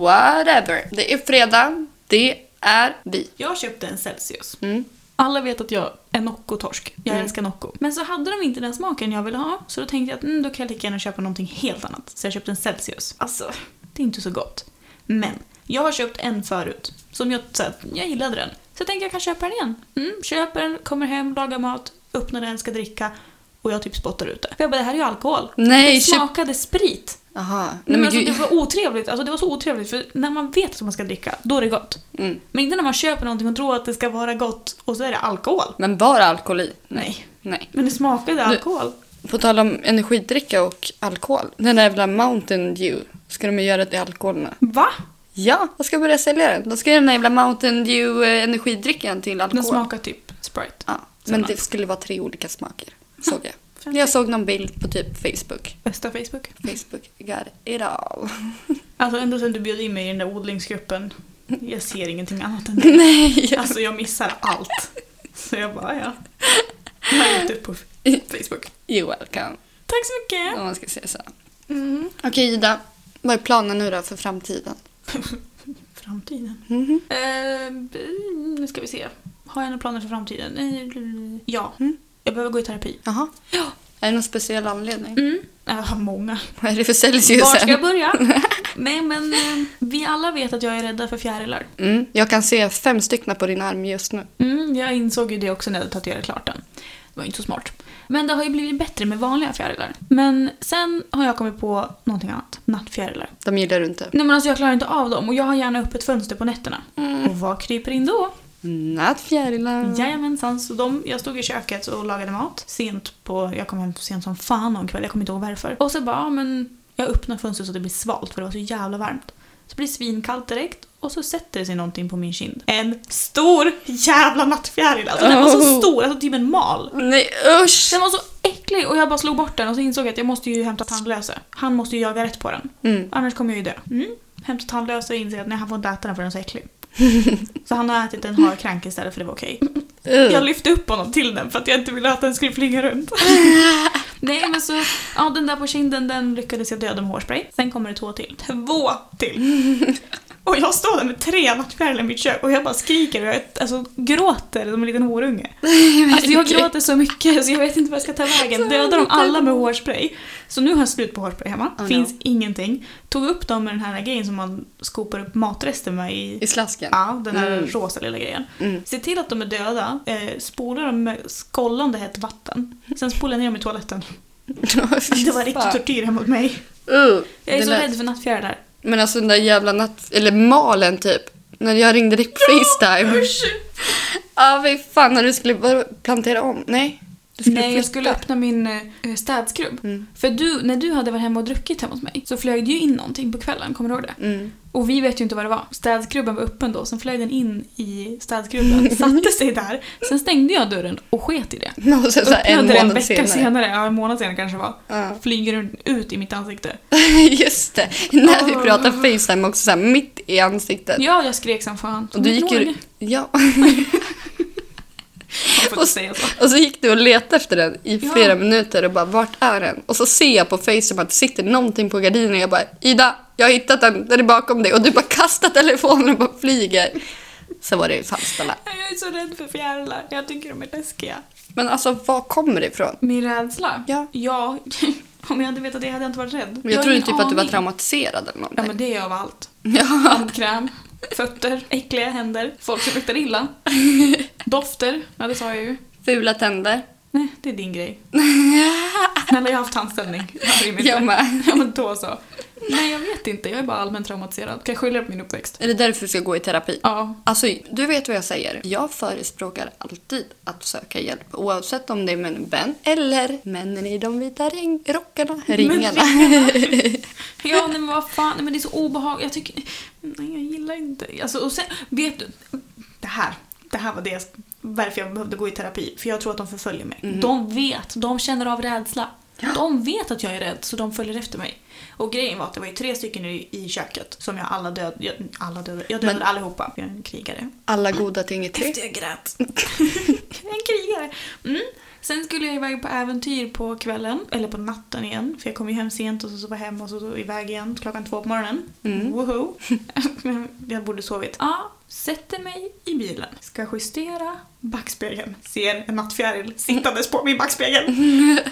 Speaker 1: whatever. Det är fredag. Det är vi.
Speaker 2: Jag köpte en Celsius.
Speaker 1: Mm.
Speaker 2: Alla vet att jag är Nocco-torsk. Jag älskar Nocco. Men så hade de inte den smaken jag ville ha. Så då tänkte jag att mm, då kan jag lika gärna köpa någonting helt annat. Så jag köpte en Celsius. Alltså, det är inte så gott. Men, jag har köpt en förut. Som jag, så här, jag gillade den. Så jag tänkte jag kan köpa den igen. Mm, köper den, kommer hem, lagar mat, öppnar den, ska dricka. Och jag typ spottar ut det. För jag bara, det här är ju alkohol.
Speaker 1: Nej,
Speaker 2: det
Speaker 1: köp-
Speaker 2: smakade sprit.
Speaker 1: Aha. Nej,
Speaker 2: Men
Speaker 1: men
Speaker 2: alltså,
Speaker 1: gud.
Speaker 2: det var otrevligt. Alltså, det var så otrevligt. För när man vet att man ska dricka, då är det gott.
Speaker 1: Mm.
Speaker 2: Men inte när man köper någonting och tror att det ska vara gott och så är det alkohol.
Speaker 1: Men var alkohol i?
Speaker 2: Nej.
Speaker 1: Nej.
Speaker 2: Men det smakade alkohol.
Speaker 1: På tal om energidricka och alkohol. Den där jävla Mountain Dew. Ska de ju göra det i alkohol nu?
Speaker 2: Va?
Speaker 1: Ja, de ska börja sälja den. De ska göra den där jävla Mountain Dew eh, energidrickan till alkohol.
Speaker 2: Den smakar typ Sprite.
Speaker 1: Ja, men det skulle vara tre olika smaker, såg jag. Jag såg någon bild på typ Facebook.
Speaker 2: Bästa Facebook.
Speaker 1: Facebook got it [laughs] all.
Speaker 2: Alltså ända sedan du bjöd in mig i den där odlingsgruppen. Jag ser ingenting annat [laughs] än det.
Speaker 1: Nej!
Speaker 2: Alltså jag missar allt. Så jag bara ja. Jag har gett upp på Facebook.
Speaker 1: You're welcome,
Speaker 2: Tack så mycket.
Speaker 1: om man ska säga så.
Speaker 2: Mm.
Speaker 1: Okej Ida, vad är planen nu då för framtiden?
Speaker 2: Framtiden.
Speaker 1: Mhm.
Speaker 2: Eh, nu ska vi se. Har jag några planer för framtiden? Eh, Ja. Jag behöver gå i terapi.
Speaker 1: Jaha.
Speaker 2: Ja.
Speaker 1: Är det någon speciell anledning?
Speaker 2: Mm. Jag har många.
Speaker 1: Vad är det för Celsius?
Speaker 2: Var ska jag börja? [laughs] Nej men eh, vi alla vet att jag är rädda för fjärilar.
Speaker 1: Mm, jag kan se fem stycken på din arm just nu.
Speaker 2: Mm, jag insåg ju det också när jag tatuerade klart den. Det var ju inte så smart. Men det har ju blivit bättre med vanliga fjärilar. Men sen har jag kommit på någonting annat. Nattfjärilar.
Speaker 1: De gillar du inte.
Speaker 2: Nej men alltså jag klarar inte av dem och jag har gärna öppet fönster på nätterna.
Speaker 1: Mm.
Speaker 2: Och vad kryper in då?
Speaker 1: Nattfjärilar.
Speaker 2: Jajamensan, så de, jag stod i köket och lagade mat. Sent på, jag kom hem sent som fan någon kväll, jag kommer inte ihåg varför. Och så bara, ja, men jag öppnar fönstret så att det blir svalt för det var så jävla varmt. Så blir det svinkallt direkt och så sätter det sig någonting på min kind. En stor jävla nattfjäril! Alltså den var så
Speaker 1: Oh.
Speaker 2: stor, alltså typ en mal.
Speaker 1: Nej usch!
Speaker 2: Den var så äcklig och jag bara slog bort den och så insåg jag att jag måste ju hämta tandlöse. Han måste ju jaga rätt på den.
Speaker 1: Mm.
Speaker 2: Annars kommer jag ju dö. Mm. Hämta tandlöse och inser att nej, han får inte äta den för den är så äcklig. så han har ätit en harkrank istället för det var okej. Jag
Speaker 1: Uh.
Speaker 2: lyfte upp honom till den för att jag inte ville att den skulle flyga runt. [laughs] Nej men så, ja den där på kinden den lyckades jag döda med hårspray. Sen kommer det två till. Två till! Och jag står där med tre nattfjärilar i mitt kök och jag bara skriker och jag alltså, gråter som en liten [laughs] horunge. Alltså jag gråter så mycket [laughs] så jag vet inte vad jag ska ta vägen. Dödade dem alla med hårspray. Så nu har jag slut på hårspray hemma.
Speaker 1: Oh no.
Speaker 2: Finns ingenting. Tog upp dem med den här grejen som man skopar upp matrester med i
Speaker 1: I slasken?
Speaker 2: Ja, den här
Speaker 1: Mm.
Speaker 2: rosa lilla grejen.
Speaker 1: [laughs] Mm.
Speaker 2: Se till att de är döda, eh, spola dem med skållande hett vatten. Sen spola ner dem i toaletten. [laughs] Det var riktigt tortyr hemma åt mig.
Speaker 1: Uh,
Speaker 2: Jag är
Speaker 1: det
Speaker 2: så
Speaker 1: lät-
Speaker 2: rädd för nattfjärilar.
Speaker 1: Men alltså den där jävla natt... Eller malen typ. När jag ringde dig på Facetime. Ja, fy fan när du skulle bara plantera om. Nej. Du skulle
Speaker 2: Nej,
Speaker 1: flytta.
Speaker 2: jag
Speaker 1: Mm,
Speaker 2: skulle öppna min eh, städskrubb. För du, när du hade varit hemma och druckit hemma hos mig så flög det ju in någonting på kvällen, kommer du ihåg det?
Speaker 1: Mm. [laughs]
Speaker 2: Och vi vet ju inte vad det var. Städskrubben var öppen då, sen flög den in i [laughs] städskrubben, satte sig där. Sen stängde jag dörren och sket i det.
Speaker 1: Och sen så här, en
Speaker 2: Öppnade en
Speaker 1: månad
Speaker 2: vecka senare.
Speaker 1: senare.
Speaker 2: ja en månad senare kanske det var.
Speaker 1: Ja.
Speaker 2: Flyger den ut i mitt ansikte.
Speaker 1: [laughs] Just det. När vi
Speaker 2: Ah.
Speaker 1: pratar Facetime också så här mitt i ansiktet.
Speaker 2: Ja, jag skrek som fan.
Speaker 1: och du gick ju...
Speaker 2: Jag
Speaker 1: Ja.
Speaker 2: får inte säga så.
Speaker 1: Och så gick du och letade efter den i
Speaker 2: Ja.
Speaker 1: flera minuter och bara vart är den? Och så ser jag på Facetime att det sitter någonting på gardinen och jag bara Ida, jag har hittat den, den är bakom dig och du bara kastar telefonen och bara flyger. Så var det ju Falsterbo.
Speaker 2: Jag är så rädd för fjärilar. Jag tycker de är läskiga.
Speaker 1: Men alltså var kommer det ifrån?
Speaker 2: Min rädsla?
Speaker 1: Ja.
Speaker 2: Ja, [laughs] om jag hade vetat det hade jag inte varit rädd.
Speaker 1: Jag, jag
Speaker 2: har
Speaker 1: trodde
Speaker 2: ingen
Speaker 1: typ att du var
Speaker 2: aning.
Speaker 1: traumatiserad eller
Speaker 2: Ja,
Speaker 1: någonting.
Speaker 2: men det är jag av allt.
Speaker 1: Ja.
Speaker 2: Handkräm, fötter, äckliga händer, folk som luktar illa,
Speaker 1: [laughs]
Speaker 2: dofter. Ja, det sa jag ju.
Speaker 1: Fula tänder.
Speaker 2: Nej, det är
Speaker 1: [laughs]
Speaker 2: din grej. Snälla, jag har haft tandställning. Jag bryr mig
Speaker 1: Jag
Speaker 2: inte.
Speaker 1: med.
Speaker 2: Ja, men då så. Nej, jag vet inte. Jag är bara allmänt traumatiserad. Kan jag skylla det på min uppväxt?
Speaker 1: Är det därför du ska gå i terapi?
Speaker 2: Ja.
Speaker 1: Alltså, du vet vad jag säger. Jag förespråkar alltid att söka hjälp. Oavsett om det är med en vän eller männen i de vita ring- rockarna. Ringarna. [laughs]
Speaker 2: Ja, nej, men vad fan, nej, men det är så obehagligt. Jag tycker... Nej, jag gillar inte... Alltså, och sen, vet du? Det här, det här var det
Speaker 1: Mm.
Speaker 2: jag, varför jag behövde gå i terapi. För jag tror att de förföljer mig. De vet, de känner av rädsla. De vet att jag är rädd så de följer efter mig. Och grejen var att det var ju tre stycken i, i köket som jag alla dödade. Jag, alla dödade, jag dödade
Speaker 1: Men-
Speaker 2: allihopa. Jag är en krigare.
Speaker 1: Alla goda ting är tre.
Speaker 2: Efter jag grät. jag är [laughs] en krigare. Mm. Sen skulle jag iväg på äventyr på kvällen, eller på natten igen. För jag kom ju hem sent och så, så var jag hemma och så, så iväg igen klockan två på morgonen.
Speaker 1: Mm.
Speaker 2: [laughs] Woho! jag borde sovit. Ja, sätter mig i bilen. Ska justera backspegeln. Ser en nattfjäril sittandes på min [laughs] backspegel.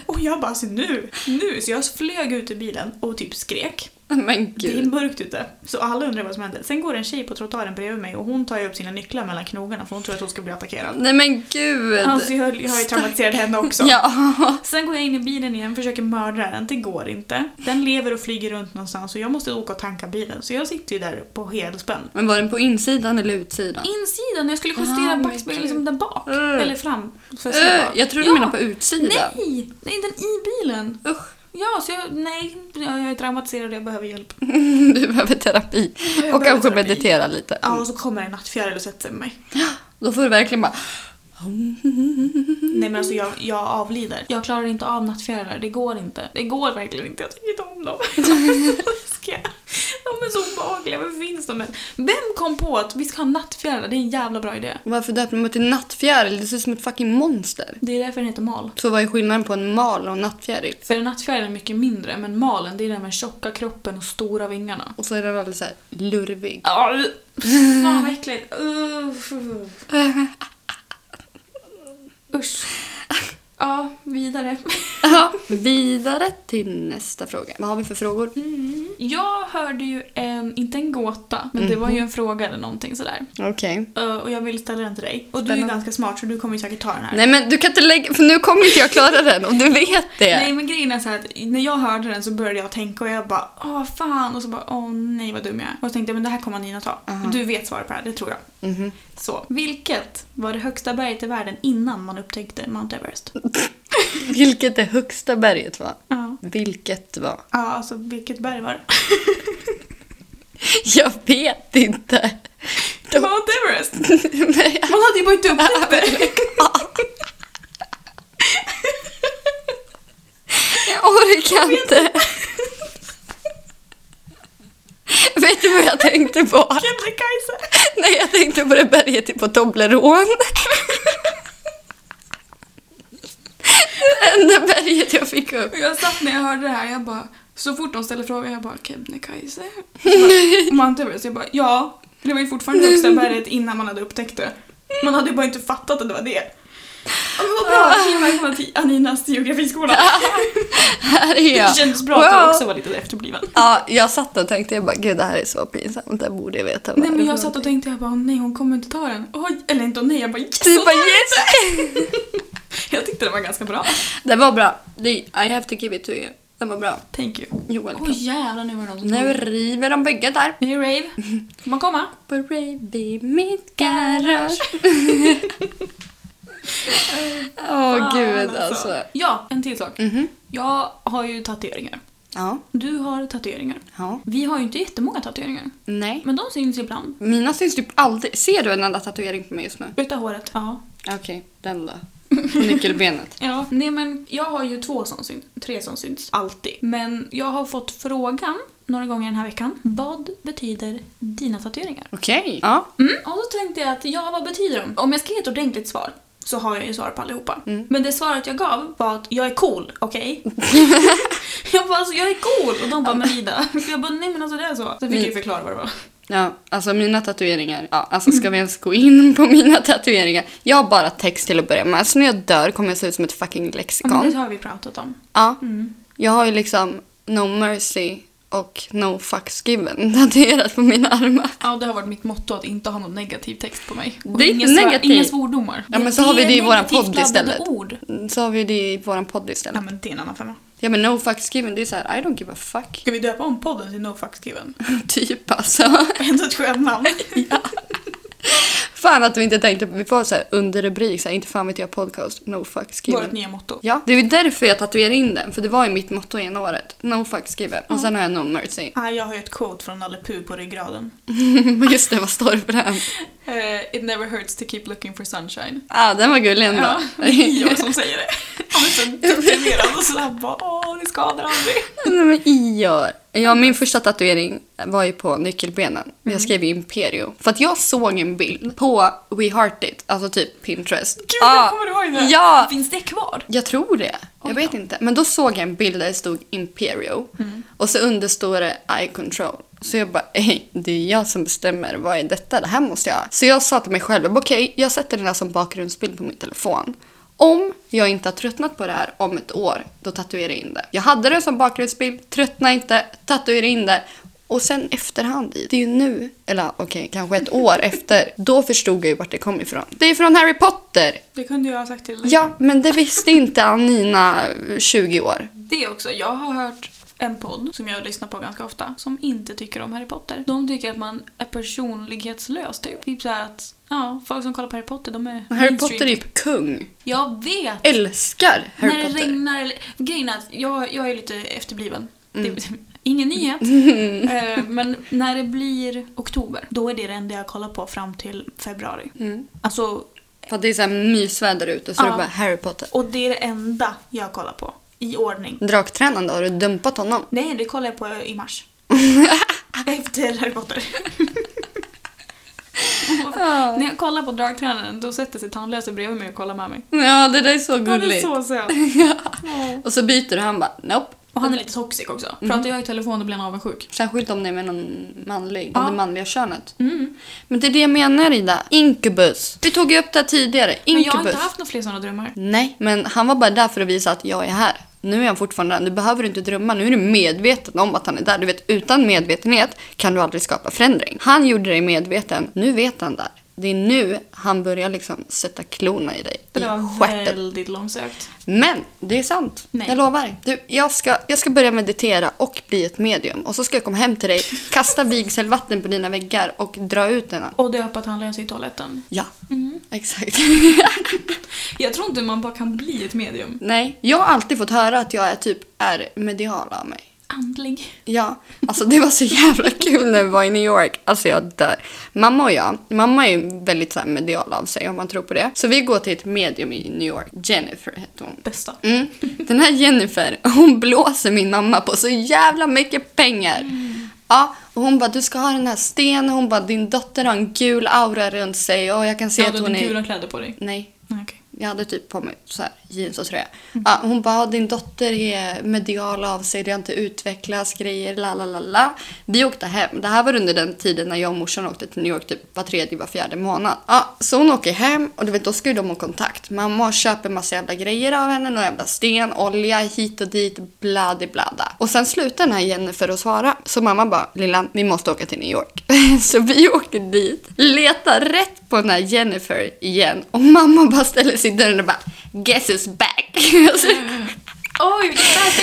Speaker 2: Och jag bara, så nu, nu! Så jag flög ut ur bilen och typ skrek.
Speaker 1: [laughs] Men
Speaker 2: Det är
Speaker 1: gud.
Speaker 2: mörkt ute. Så alla undrar vad som händer. Sen går en tjej på trottoaren bredvid mig och hon tar ju upp sina nycklar mellan knogarna för hon tror att hon ska bli attackerad.
Speaker 1: Nej men gud.
Speaker 2: Alltså jag, jag har ju traumatiserat henne [laughs] också.
Speaker 1: Ja. [laughs]
Speaker 2: Sen går jag in i bilen igen försöker mörda den. Det går inte. Den lever och flyger runt någonstans och jag måste åka och tanka bilen. Så jag sitter ju där på helspänn.
Speaker 1: Men var den på insidan eller utsidan?
Speaker 2: Insidan, jag skulle justera
Speaker 1: Ah, men gud.
Speaker 2: backspegeln liksom där bak.
Speaker 1: Mm.
Speaker 2: Eller fram. För att se
Speaker 1: Öh,
Speaker 2: bak.
Speaker 1: jag tror du
Speaker 2: ja.
Speaker 1: menar på utsidan.
Speaker 2: Nej! Nej, den i bilen.
Speaker 1: Usch, [laughs]
Speaker 2: Ja, så jag, nej, jag jag är traumatiserad och jag behöver [laughs] hjälp.
Speaker 1: du behöver terapi.
Speaker 2: behöver
Speaker 1: Och kanske
Speaker 2: terapi.
Speaker 1: meditera lite.
Speaker 2: Ja, och så kommer en nattfjäril och sätter sig med mig.
Speaker 1: Då får du verkligen bara...
Speaker 2: Nej men alltså jag, jag avlider. Jag klarar inte av nattfjärilar, det går inte. Det går verkligen inte, jag tycker inte om dem. Ska jag? de är så obehagliga, varför finns de än? Vem kom på att vi ska ha nattfjärilar? Det är en jävla bra idé.
Speaker 1: Varför döpte man till nattfjäril? Det ser ut som ett fucking monster.
Speaker 2: Det är därför den heter mal.
Speaker 1: Så vad är skillnaden på en mal och en nattfjäril?
Speaker 2: För en nattfjäril är mycket mindre, men malen det är den med tjocka kroppen och stora vingarna.
Speaker 1: Och så är den väldigt så här lurvig.
Speaker 2: Ah, Fan vad äckligt. Uff. Usch. Ja, vidare.
Speaker 1: Ja, vidare till nästa fråga. Vad har vi för frågor?
Speaker 2: Mm. Jag hörde ju en, inte en gåta, men det var
Speaker 1: Mhm.
Speaker 2: ju en fråga eller någonting sådär.
Speaker 1: Okej.
Speaker 2: Eh, och jag vill ställa den till dig. Och du är ju
Speaker 1: Spännande.
Speaker 2: ganska smart så du kommer ju säkert ta den här.
Speaker 1: Nej men du kan inte lägga... För nu kommer inte jag klara den och du vet det.
Speaker 2: Nej men grejen är så här att när jag hörde den så började jag tänka och jag bara åh fan och så bara åh nej vad dum jag är. Och så tänkte jag men det här kommer Nina ta.
Speaker 1: Aha.
Speaker 2: Du vet svaret på det här, det tror jag.
Speaker 1: Mhm.
Speaker 2: Så. Vilket var det högsta berget i världen innan man upptäckte Mount Everest? Ja.
Speaker 1: Vilket det högsta berget var?
Speaker 2: Ja
Speaker 1: Vilket var?
Speaker 2: alltså vilket berg var det?
Speaker 1: [laughs] Jag vet inte.
Speaker 2: Mount Everest!
Speaker 1: [laughs] Nej.
Speaker 2: Man hade ju
Speaker 1: [laughs]
Speaker 2: bara inte upptäckt det.
Speaker 1: Jag orkar inte. [laughs] Vet du vad jag tänkte på?
Speaker 2: Kebnekaise!
Speaker 1: Nej, jag tänkte på det berget på Toblerone. [laughs] Det enda berget jag fick upp.
Speaker 2: Och Jag satt när jag hörde det här, jag bara, så fort de ställer frågan, jag bara Kebnekaise? Så
Speaker 1: [laughs]
Speaker 2: bara, Mount Everest, jag bara ja. Det var ju fortfarande högsta berget innan man hade upptäckt det. Man hade ju bara inte fattat att det var det. Ja, Men vad bra, Nina välkomna till Aninas geografiskola.
Speaker 1: Här är jag.
Speaker 2: Det kändes bra att du
Speaker 1: Wow.
Speaker 2: också var lite efterbliven.
Speaker 1: Ja, jag satt och tänkte, jag bara gud det här är så pinsamt, det här borde jag veta. vad
Speaker 2: Nej
Speaker 1: det
Speaker 2: men
Speaker 1: är
Speaker 2: jag
Speaker 1: för
Speaker 2: satt och
Speaker 1: någonting."
Speaker 2: tänkte, jag bara åh, nej hon kommer inte ta den. Oj, eller inte åh, nej, jag bara yes!
Speaker 1: Du
Speaker 2: hon
Speaker 1: bara
Speaker 2: tar den."
Speaker 1: yes!
Speaker 2: Jag tyckte det var ganska bra.
Speaker 1: Det var bra. Det- I have to give it to you. Det var bra.
Speaker 2: Thank you.
Speaker 1: Joel.
Speaker 2: Åh jävlar nu var det någon som
Speaker 1: Nu river de bägge där.
Speaker 2: Nu är det rave. Får man komma?
Speaker 1: Baby, mitt garage. [laughs] Åh gud
Speaker 2: Fan,
Speaker 1: alltså.
Speaker 2: Ja, en till sak.
Speaker 1: Mhm.
Speaker 2: Jag har ju tatueringar.
Speaker 1: Ja.
Speaker 2: Du har tatueringar.
Speaker 1: ja.
Speaker 2: Vi har ju inte jättemånga tatueringar.
Speaker 1: Nej.
Speaker 2: Men de syns ibland.
Speaker 1: Mina syns typ aldrig. Ser du en enda tatuering på mig just nu?
Speaker 2: Utav håret. Ja.
Speaker 1: Okej, den då. [laughs] Nyckelbenet.
Speaker 2: ja. Nej men jag har ju två som syns. Tre som syns. Alltid. Men jag har fått frågan några gånger den här veckan. Vad betyder dina tatueringar?
Speaker 1: Okej. Ja.
Speaker 2: Mm. Och då tänkte jag att, ja vad betyder de? Mm. Om jag ska ge ett ordentligt svar så har jag ju svar på allihopa. Men det svaret jag gav var att jag är cool, [laughs] okej? jag bara alltså jag är cool! Och de bara men [laughs] Ida. Jag bara nej men alltså det är så. Så fick jag ju förklara vad det var.
Speaker 1: Ja, alltså mina tatueringar. Ja, alltså ska vi ens gå in på mina tatueringar? Jag har bara text till att börja med. Alltså när jag dör kommer jag se ut som ett fucking
Speaker 2: Ja, men
Speaker 1: lexikon.
Speaker 2: det har vi pratat om.
Speaker 1: Ja.
Speaker 2: Mm.
Speaker 1: Jag har ju liksom No Mercy och No Fucks Given [laughs] tatuerat på mina armar.
Speaker 2: Ja, det har varit mitt motto att inte ha någon negativ text på mig.
Speaker 1: Det är
Speaker 2: inga
Speaker 1: inte
Speaker 2: svär-
Speaker 1: negativt.
Speaker 2: Inga svordomar.
Speaker 1: Ja, men så har vi det i
Speaker 2: är
Speaker 1: våran
Speaker 2: negativt
Speaker 1: podd
Speaker 2: laddade
Speaker 1: istället.
Speaker 2: ord.
Speaker 1: Mm, Så har vi det i våran podd
Speaker 2: Ja,
Speaker 1: istället.
Speaker 2: men det är en annan femma.
Speaker 1: Ja men No Fucks Given, det är så här I don't give a fuck. [laughs]
Speaker 2: Ska vi döpa om podden [laughs] till No Fucks Given?
Speaker 1: Typ alltså. [laughs]
Speaker 2: Ändå ett skönt namn.
Speaker 1: ja. fan att vi inte tänkte på, vi får så här underrubrik så här, inte fan vet jag podcast, no fucks
Speaker 2: Vårt
Speaker 1: given.
Speaker 2: nya motto.
Speaker 1: Ja, det är ju därför jag tatuerade in den, för det var ju mitt motto ena året. No fucks given. Och sen har jag no mercy. [laughs]
Speaker 2: Ah, jag har ju ett quote från Nalle Puh på ryggraden.
Speaker 1: Men Just det, vad står det på den?
Speaker 2: Eh, it never hurts to keep looking for sunshine.
Speaker 1: Ah, den var gullig ändå.
Speaker 2: Ja, [laughs] det är
Speaker 1: [laughs]
Speaker 2: jag som säger det. Han är så deprimerad och så här bara åh, det skadar aldrig.
Speaker 1: Nej, men Ior. Ja, min första tatuering var ju på nyckelbenen.
Speaker 2: Mm.
Speaker 1: Jag skrev ju Imperio. För att jag såg en bild på We Heart It, alltså typ Pinterest.
Speaker 2: Gud,
Speaker 1: Ja.
Speaker 2: jag kommer ihåg det.
Speaker 1: Ja,
Speaker 2: Finns det kvar?
Speaker 1: jag tror det. Jag
Speaker 2: Oj
Speaker 1: vet
Speaker 2: då.
Speaker 1: inte. Men då såg jag en bild där det stod Imperio. Och så under står det Eye Control. Så jag bara, hej, det är jag som bestämmer. Vad är detta? Det här måste jag ha." Så jag sa till mig själv, okej, jag sätter den här som bakgrundsbild på min telefon. Om jag inte har tröttnat på det här om ett år, då tatuerar jag in det. Jag hade den som bakgrundsbild, tröttna inte, tatuera in det. Och sen efterhand, i- det är ju nu, eller okej, kanske ett år [laughs] efter, då förstod jag ju vart det kom ifrån. Det är från Harry Potter!
Speaker 2: Det kunde jag ha sagt till dig.
Speaker 1: Ja, men det visste inte Anina, 20 år.
Speaker 2: Det också. Jag har hört en podd som jag lyssnar på ganska ofta som inte tycker om Harry Potter. De tycker att man är personlighetslös typ. Typ såhär att, ja, folk som kollar på Harry Potter de är
Speaker 1: Harry
Speaker 2: mainstream.
Speaker 1: Potter är ju kung.
Speaker 2: Jag vet!
Speaker 1: Älskar Harry
Speaker 2: när det
Speaker 1: Potter.
Speaker 2: regnar eller... Grejen är att jag, jag är lite efterbliven. Det,
Speaker 1: Mm.
Speaker 2: [laughs] ingen
Speaker 1: [laughs]
Speaker 2: nyhet. Eh, Men när det blir oktober, då är det det enda jag kollar på fram till februari.
Speaker 1: Mm.
Speaker 2: Alltså,
Speaker 1: För att det är så här mysväder ute så
Speaker 2: Ja.
Speaker 1: det är bara Harry Potter.
Speaker 2: och det är det enda jag kollar på. I ordning.
Speaker 1: Draktränande, har du dumpat honom?
Speaker 2: Nej, det kollar jag på
Speaker 1: [laughs]
Speaker 2: i mars. Efter Harry Potter. När jag kollar på Dragtränaren då sätter sig tandlösa bredvid mig och kollar med mig.
Speaker 1: Ja, det där är så
Speaker 2: Han
Speaker 1: [laughs]
Speaker 2: är
Speaker 1: gulligt.
Speaker 2: så söt.
Speaker 1: Och så byter du, han bara nope.
Speaker 2: [laughs] Och han är lite toxic också. Pratar jag i telefon då blir han avundsjuk.
Speaker 1: Särskilt om det är med någon manlig,
Speaker 2: Ja.
Speaker 1: om det manliga könet.
Speaker 2: Mm.
Speaker 1: Men det är det jag menar Ida. Incubus. Vi tog ju upp det här tidigare.
Speaker 2: Men jag har
Speaker 1: Incubus.
Speaker 2: inte haft några fler sådana drömmar.
Speaker 1: Nej, men han var bara där för att visa att jag är här. Nu är han fortfarande där. Nu behöver du inte drömma. Nu är du medveten om att han är där. Du vet, utan medvetenhet kan du aldrig skapa förändring. Han gjorde dig medveten. Nu vet han där. Det är nu han börjar liksom sätta klorna i dig.
Speaker 2: Det
Speaker 1: i
Speaker 2: var
Speaker 1: stjärten.
Speaker 2: väldigt långsökt.
Speaker 1: Men det är sant.
Speaker 2: Nej.
Speaker 1: Jag lovar. Du, jag, ska, jag ska börja meditera och bli ett medium. Och så ska jag komma hem till dig, kasta vigselvatten på dina väggar och dra ut den.
Speaker 2: Och döpa tandlösa i toaletten.
Speaker 1: Ja, exakt. [laughs]
Speaker 2: Jag tror inte man bara kan bli ett medium.
Speaker 1: Nej, jag har alltid fått höra att jag är typ är medial av mig.
Speaker 2: Andlig.
Speaker 1: Ja, alltså det var så jävla kul när vi var i New York. Alltså jag dör. Mamma och jag, mamma är ju väldigt så här medial av sig om man tror på det. Så vi går till ett medium i New York. Jennifer hette hon.
Speaker 2: Bästa.
Speaker 1: Mm. Den här Jennifer, hon blåser min mamma på så jävla mycket pengar. Ja, och hon bara, du ska ha den här stenen. Hon bara, din dotter har en gul aura runt sig och jag kan se
Speaker 2: Ja,
Speaker 1: att
Speaker 2: du
Speaker 1: hon
Speaker 2: hade
Speaker 1: är...
Speaker 2: gula kläder på dig.
Speaker 1: Nej,
Speaker 2: Nej, okej.
Speaker 1: jag hade typ på mig så här, jeans och tröja. Ja, hon bara, din dotter är medial av sig, det har inte utvecklats grejer, la la la la. Vi åkte hem. Det här var under den tiden när jag och morsan åkte till New York typ var tredje, var fjärde månad. Ja, så hon åker hem och du vet, då ska ju de ha kontakt. Mamma köper massa jävla grejer av henne, några jävla sten, olja hit och dit, bladi blada. Och sen slutar den här Jennifer att svara. Så mamma bara, lilla, vi måste åka till New York. [laughs] så vi åker dit, letar rätt på den här Jennifer igen och mamma bara ställer sig i dörren och bara Guess is back. [laughs] Alltså,
Speaker 2: Oj, vilken bad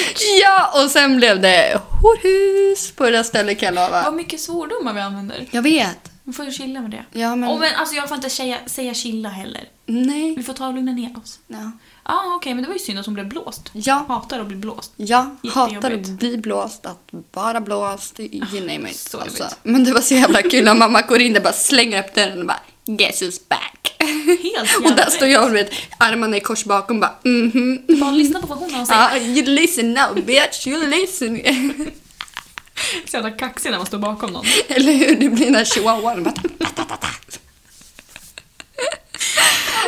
Speaker 1: ja, och sen blev det horhus på det där stället kan jag
Speaker 2: [laughs] Vad
Speaker 1: lova.
Speaker 2: mycket svordomar vi använder.
Speaker 1: Jag vet.
Speaker 2: Vi får ju chilla med det.
Speaker 1: Ja, men...
Speaker 2: Åh, men alltså jag får inte säga, säga chilla heller.
Speaker 1: Nej.
Speaker 2: Vi får ta och lugna ner oss.
Speaker 1: Ja.
Speaker 2: Ja, okej, men det var ju synd att hon blev blåst.
Speaker 1: Ja.
Speaker 2: Hatar att bli blåst.
Speaker 1: Jag hatar att
Speaker 2: Jättejobbigt. Ah,
Speaker 1: bli blåst, att vara blåst, you name it.
Speaker 2: så
Speaker 1: alltså.
Speaker 2: jobbigt.
Speaker 1: Men det var så jävla kul när mamma går in och bara slänger upp dörren och bara Guess who's back.
Speaker 2: Helt jävla
Speaker 1: [laughs] och där står jag med armarna i kors bakom och bara mhm.
Speaker 2: Bara lyssna på vad hon har sagt.
Speaker 1: Ah, you listen now bitch, you listen. [laughs]
Speaker 2: Så jävla kaxig när man står bakom någon.
Speaker 1: Eller hur? Det blir den här chihuahuan. Bara,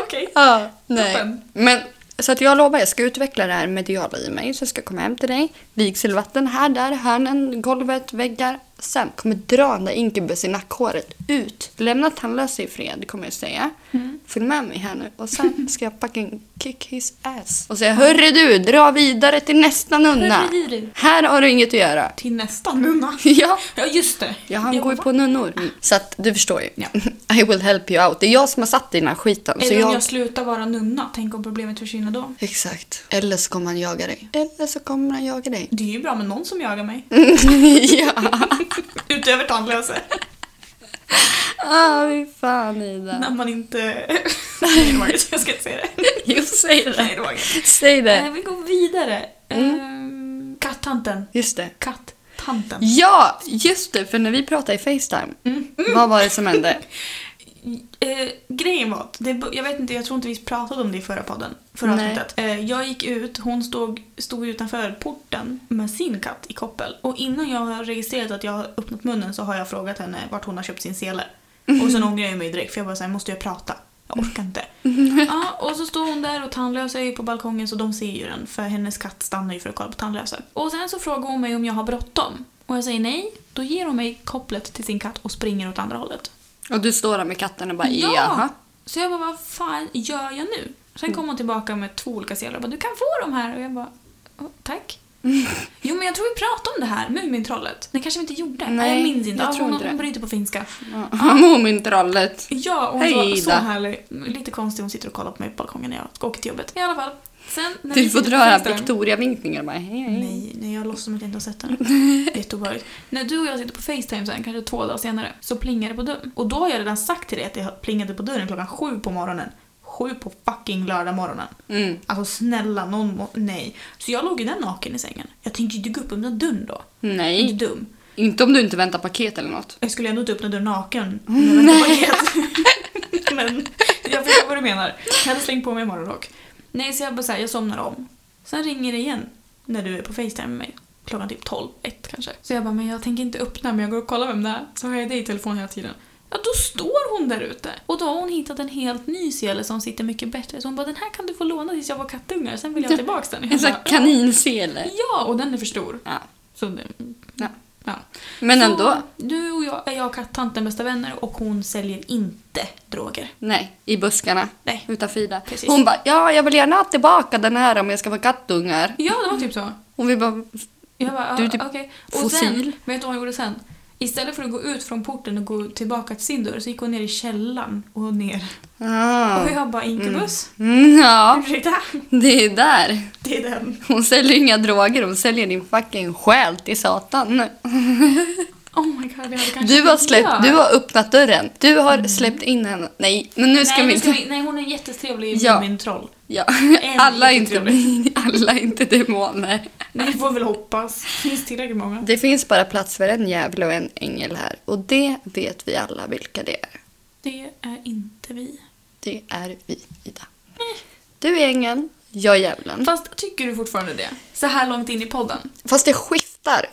Speaker 2: Okej.
Speaker 1: Ja, nej.
Speaker 2: Toppen.
Speaker 1: Men, så att jag lovar, jag ska utveckla det här mediala i mig. Så jag ska komma hem till dig. Vigselvatten här, där, hörnen, golvet, väggar. Sen kommer dra den där inkubus i nackhåret ut. Lämna tandlösa i fred, kommer jag säga.
Speaker 2: Mm.
Speaker 1: Följ med mig här nu. Och
Speaker 2: [laughs]
Speaker 1: sen ska jag fucking kick his ass. Och säga, hörru du, dra vidare till nästa nunna.
Speaker 2: Hörru du.
Speaker 1: Här har du inget att göra. [laughs]
Speaker 2: Till nästa nunna.
Speaker 1: Ja.
Speaker 2: Ja, just det.
Speaker 1: Ja, han
Speaker 2: Jag
Speaker 1: går ju
Speaker 2: bara,
Speaker 1: på nunnor. Så att du förstår ju.
Speaker 2: Ja.
Speaker 1: [laughs] I will help you out. Det är jag som har satt i den här skiten.
Speaker 2: Eller
Speaker 1: så
Speaker 2: om
Speaker 1: jag...
Speaker 2: jag slutar vara nunna, tänk om problemet försvinner då.
Speaker 1: Exakt. Eller så kommer han jaga dig. Eller så kommer han jaga dig.
Speaker 2: Det är ju bra med någon som jagar mig.
Speaker 1: [laughs] ja.
Speaker 2: Utöver tandlöse.
Speaker 1: Ah, fy fan
Speaker 2: När
Speaker 1: Ida.
Speaker 2: man inte... Nej, det var inget. jag ska inte säga det.
Speaker 1: [laughs] Jo, säg
Speaker 2: Nej,
Speaker 1: det.
Speaker 2: det var inget.
Speaker 1: Säg
Speaker 2: Nej,
Speaker 1: det.
Speaker 2: vi går vidare.
Speaker 1: Mm.
Speaker 2: Ehm, Kattanten.
Speaker 1: Just det.
Speaker 2: Kattanten.
Speaker 1: Ja, just det, för när vi pratade i Facetime, vad var det som hände?
Speaker 2: Eh, grejen var att, det, bo- jag vet inte, jag tror inte vi pratade om det i förra podden. Förra
Speaker 1: Nej.
Speaker 2: avsnittet. Eh, jag gick ut, hon stod, stod utanför porten med sin katt i koppel. Och innan jag har registrerat att jag har öppnat munnen så har jag frågat henne vart hon har köpt sin sele. Och sen ångrar jag mig direkt för jag bara såhär, måste jag prata? Jag orkar inte. Ja, och så står hon där och tandlösa är ju på balkongen så de ser ju den för hennes katt stannar ju för att kolla på tandlösa. Och sen så frågar hon mig om jag har bråttom. Och jag säger nej. Då ger hon mig kopplet till sin katt och springer åt andra hållet.
Speaker 1: Och du står där med katten och bara jaha.
Speaker 2: Så jag bara, vad fan gör jag nu? Sen kom hon tillbaka med två olika sedlar och bara, du kan få de här. Och jag bara, "Åh,
Speaker 1: [laughs]
Speaker 2: tack. Jo men jag tror vi pratade om det här, Mumintrollet. Det kanske vi inte gjorde.
Speaker 1: Nej,
Speaker 2: jag minns inte.
Speaker 1: jag
Speaker 2: Ja,
Speaker 1: tror
Speaker 2: hon,
Speaker 1: inte det.
Speaker 2: hon bryter på finska.
Speaker 1: [laughs] Ja, Mumintrollet.
Speaker 2: Ja, och hon
Speaker 1: Hej,
Speaker 2: var så
Speaker 1: Ida.
Speaker 2: härlig. Lite konstig, hon sitter och kollar på mig på balkongen när jag åker till jobbet. I alla fall. Sen, när vi
Speaker 1: Du får
Speaker 2: sitter på
Speaker 1: dra här
Speaker 2: Facetime-
Speaker 1: Victoria-vinkningar och bara hej hej.
Speaker 2: Nej, nej, jag låtsas som att jag inte har sett [laughs] den. Jätteobehagligt. När du och jag sitter på Facetime sen, kanske två dagar senare, så plingar det på dörren. Och då har jag redan sagt till dig att jag plingade på dörren klockan sju på morgonen. Sju på fucking lördag morgonen.
Speaker 1: Mm.
Speaker 2: Alltså snälla någon må- nej. Så jag låg ju där naken i sängen. Jag tänkte ju inte gå upp och öppna dörren då. Jag är
Speaker 1: Nej,
Speaker 2: Inte dum.
Speaker 1: inte om du inte väntar paket eller något.
Speaker 2: Jag skulle ändå inte öppna dörren naken. om jag väntade paket. [laughs] Men jag förstår vad du menar. Jag hade slängt på mig morgonrock. Nej, så jag bara så här, jag somnar om. Sen ringer det igen när du är på Facetime med mig. Klockan typ 12, 1 kanske. Så jag bara, men jag tänker inte öppna men jag går och kollar vem det är. Så har jag dig i telefon hela tiden. Ja, då står hon där ute. Och då har hon hittat en helt ny sele som sitter mycket bättre. Så hon bara, den här kan du få låna tills jag var kattungar, sen vill jag ha tillbaka den.
Speaker 1: En
Speaker 2: Jag
Speaker 1: sån [laughs]
Speaker 2: bara,
Speaker 1: här kaninsele.
Speaker 2: ja, och den är för stor.
Speaker 1: Ja.
Speaker 2: Så det,
Speaker 1: Ja.
Speaker 2: ja.
Speaker 1: Men
Speaker 2: Så,
Speaker 1: ändå,
Speaker 2: Du och jag är jag och kattanten bästa vänner och hon säljer inte droger.
Speaker 1: nej, i buskarna
Speaker 2: Nej.
Speaker 1: utanför Ida.
Speaker 2: Precis.
Speaker 1: Hon bara ja, jag vill gärna ha tillbaka den här om jag ska vara kattungar.
Speaker 2: Ja, det var typ så.
Speaker 1: Och vi bara
Speaker 2: Jag bara,
Speaker 1: Du
Speaker 2: du
Speaker 1: är typ
Speaker 2: okej. Och sen,
Speaker 1: fossil.
Speaker 2: vet du vad hon gjorde sen? Istället för att gå ut från porten och gå tillbaka till sin dörr så gick hon ner i källaren och ner.
Speaker 1: ah.
Speaker 2: Och jag bara, inkubus?
Speaker 1: mm, ja,
Speaker 2: Ursäkta?
Speaker 1: det är där.
Speaker 2: Det är den.
Speaker 1: Hon säljer inga droger, hon säljer din fucking själ till satan.
Speaker 2: Oh my god, jag hade kanske
Speaker 1: Du har
Speaker 2: inte gör. Mm.
Speaker 1: släppt, du har öppnat dörren. Du har släppt in henne. Nej, men nu ska
Speaker 2: nej,
Speaker 1: vi
Speaker 2: nu
Speaker 1: inte...
Speaker 2: ska vi, nej, hon är jättetrevlig
Speaker 1: Ja.
Speaker 2: min troll.
Speaker 1: [laughs] Ja.
Speaker 2: En
Speaker 1: Alla, är inte,
Speaker 2: jättetrevlig.
Speaker 1: [laughs] alla är inte demoner.
Speaker 2: Nej, vi får väl hoppas. Det finns tillräckligt många.
Speaker 1: Det finns bara plats för en djävul och en ängel här. Och det vet vi alla vilka det är.
Speaker 2: Det är inte vi. Eh,
Speaker 1: Det är vi, Ida. Du är ängeln, jag är djävulen.
Speaker 2: Fast tycker du fortfarande det? Så här långt in i podden?
Speaker 1: Fast det skiftar.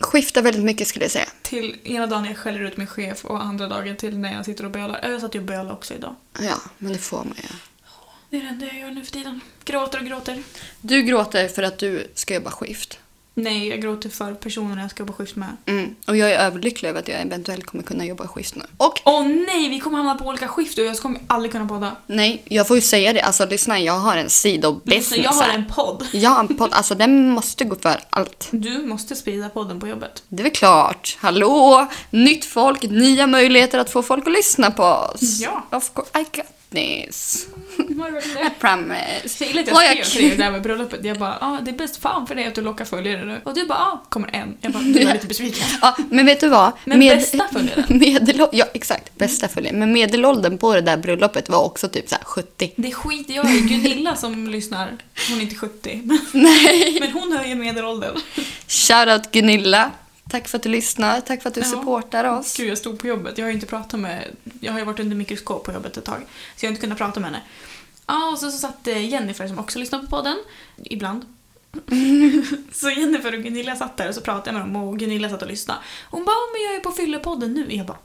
Speaker 1: Skiftar väldigt mycket skulle jag säga.
Speaker 2: Till ena dagen jag skäller ut min chef och andra dagen till när jag sitter och bölar. Jag satt ju och bölade också idag.
Speaker 1: Ja, men det får man ju.
Speaker 2: Det är det enda jag gör nu för tiden. Gråter och gråter.
Speaker 1: Du gråter för att du ska jobba skift.
Speaker 2: Nej, jag gråter för personerna jag ska jobba skift med.
Speaker 1: Mm. Och jag är överlycklig över att jag eventuellt kommer kunna jobba skift nu. Och
Speaker 2: Åh nej, vi kommer hamna på olika skift och jag kommer aldrig kunna podda.
Speaker 1: nej, jag får ju säga det. Alltså lyssna, jag har en
Speaker 2: Lyssna,
Speaker 1: sidobusiness
Speaker 2: jag har
Speaker 1: här.
Speaker 2: en podd.
Speaker 1: Jag har en podd, alltså den måste gå för allt.
Speaker 2: Du måste sprida podden på [laughs] jobbet.
Speaker 1: Det är väl klart. Hallå! Nytt folk, nya möjligheter att få folk att lyssna på oss.
Speaker 2: Ja.
Speaker 1: Of course, I got this. I
Speaker 2: Jag
Speaker 1: promise.
Speaker 2: gillar att
Speaker 1: Har
Speaker 2: jag
Speaker 1: jag
Speaker 2: skrev till dig
Speaker 1: kul?
Speaker 2: det där med bröllopet. Jag bara, ah, det är bäst fan för dig att du lockar följare nu. Och du bara, ah, kommer en. Jag bara, du är lite besviken.
Speaker 1: Ja, men vet du vad?
Speaker 2: Men bästa
Speaker 1: [laughs]
Speaker 2: följaren.
Speaker 1: Medel, ja, exakt. Bästa följaren. Men medelåldern på det där bröllopet var också typ så här 70.
Speaker 2: Det skiter jag i. Gunilla som lyssnar, hon är inte 70. Men, men hon höjer medelåldern.
Speaker 1: Shoutout Gunilla. Tack för att du lyssnar. Tack för att du
Speaker 2: Ja.
Speaker 1: supportar oss.
Speaker 2: Alltså, Gud, jag stod på jobbet. Jag har ju inte pratat med... Jag har ju varit under mikroskop på jobbet ett tag. Så jag har inte kunnat prata med henne. Ja, och så, så satt eh, Jennifer som också lyssnar på podden. Ibland. [laughs] så Jennifer och Gunilla satt där och så pratade jag med dem och Gunilla satt och lyssnade. Hon bara, "Ja, men jag är på fyllepodden nu. Jag bara,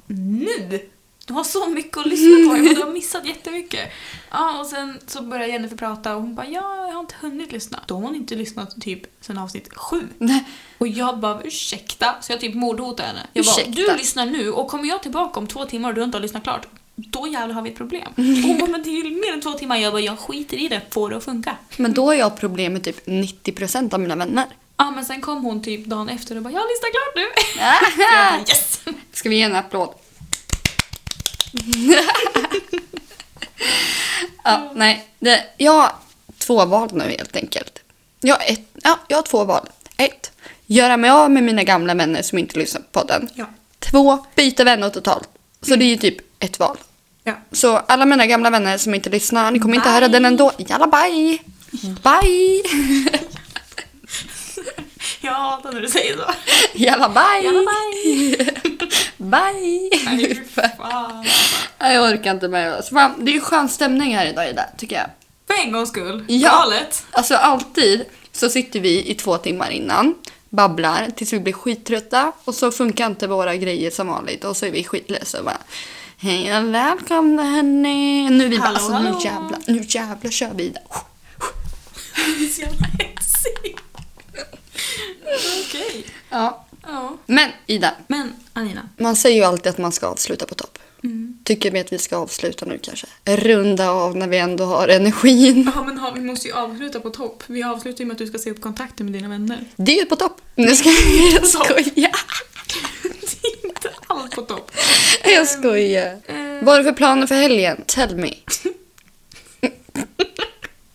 Speaker 2: nu? Du har så mycket att lyssna på. Jag bara, du har missat jättemycket. Ja, och sen så började Jennifer prata och hon bara, ja, jag har inte hunnit lyssna. Då har hon inte lyssnat typ sen avsnitt sju.
Speaker 1: Nej.
Speaker 2: Och jag bara ursäkta, så jag typ mordhotade henne. Jag bara,
Speaker 1: Ursäkta.
Speaker 2: du lyssnar nu och kommer jag tillbaka om två timmar och du inte har lyssnat klart, då jävlar har vi
Speaker 1: [laughs]
Speaker 2: ett problem. Och hon bara, men det är ju mer än två timmar. Jag bara, jag skiter i det, får det att funka.
Speaker 1: Men då har jag problem med typ 90% av mina
Speaker 2: [laughs]
Speaker 1: vänner.
Speaker 2: Ja men sen kom hon typ dagen efter och bara, jag har lyssnat klart nu. [laughs] Jag
Speaker 1: Aha!
Speaker 2: bara, yes!
Speaker 1: Ska vi ge en applåd? [laughs] ja, nej. Det, jag har två val nu helt enkelt. Jag har, ett, ja, jag har två val. Ett, göra mig av med mina gamla vänner som inte lyssnar på podden.
Speaker 2: Ja. Mm.
Speaker 1: Två, byta vänner totalt. Så det är ju typ ett val.
Speaker 2: [laughs] Ja.
Speaker 1: Så alla mina gamla vänner som inte lyssnar, ni kommer inte
Speaker 2: Bye. Mm.
Speaker 1: höra den ändå. Jalla bye! Bye! [laughs]
Speaker 2: Ja, när du
Speaker 1: [laughs]
Speaker 2: säger så.
Speaker 1: Jalla bye!
Speaker 2: Jalla, bye.
Speaker 1: [laughs] bye!
Speaker 2: Nej, fy fan.
Speaker 1: Nej, jag orkar inte med det. Så fan, det är ju skön stämning här idag Ida, tycker jag.
Speaker 2: För en gångs skull.
Speaker 1: Ja.
Speaker 2: Galet. [laughs]
Speaker 1: Alltså alltid så sitter vi i två timmar innan, babblar tills vi blir skittrötta och så funkar inte våra grejer som vanligt och så är vi skitledsna och bara Hej och välkomna hörni! Nu är vi bara
Speaker 2: Hallå,
Speaker 1: alltså
Speaker 2: hallå."
Speaker 1: nu jävlar, nu jävlar kör vi Ida.
Speaker 2: Så jävla hetsigt. [laughs] Okej.
Speaker 1: Ja.
Speaker 2: Ja.
Speaker 1: Men Ida,
Speaker 2: Men Anina.
Speaker 1: man säger ju alltid att man ska avsluta på topp. Tycker vi att vi ska avsluta nu kanske? Runda av när vi ändå har energin.
Speaker 2: Ja men ha, vi måste ju avsluta på topp. Vi avslutar ju med att du ska se upp kontakten med dina vänner. [laughs]
Speaker 1: Det är ju på topp! Nu ska jag, jag skojar!
Speaker 2: Det är inte alls på topp.
Speaker 1: Jag skojar.
Speaker 2: Eh,
Speaker 1: Vad är det för planer för helgen? Tell me. [laughs]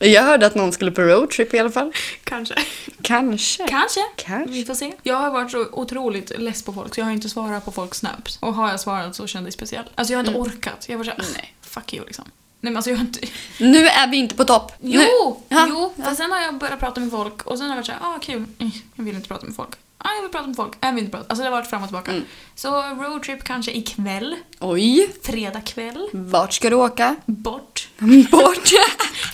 Speaker 1: Jag hörde att någon skulle på roadtrip i alla fall.
Speaker 2: kanske.
Speaker 1: Kanske.
Speaker 2: Kanske.
Speaker 1: Kanske.
Speaker 2: Vi får se. Jag har varit så otroligt less på folk så jag har inte svarat på folks snaps. Och har jag svarat så kände jag speciell. Alltså jag har inte
Speaker 1: Mm.
Speaker 2: orkat. Jag var såhär, nej, fuck you liksom. Nej men alltså jag har inte...
Speaker 1: Nu är vi inte på topp.
Speaker 2: Jo!
Speaker 1: Nu. Ja.
Speaker 2: Jo! Fast sen har jag börjat prata med folk och sen har jag varit såhär, ah kul, Mm, jag vill inte prata med folk. Ah, jag vill prata med folk, jag vill inte prata. Alltså det har varit fram och tillbaka.
Speaker 1: Mm.
Speaker 2: Så roadtrip kanske ikväll,
Speaker 1: Oj.
Speaker 2: fredag kväll,
Speaker 1: Vart ska du åka?
Speaker 2: bort.
Speaker 1: [laughs] Bort.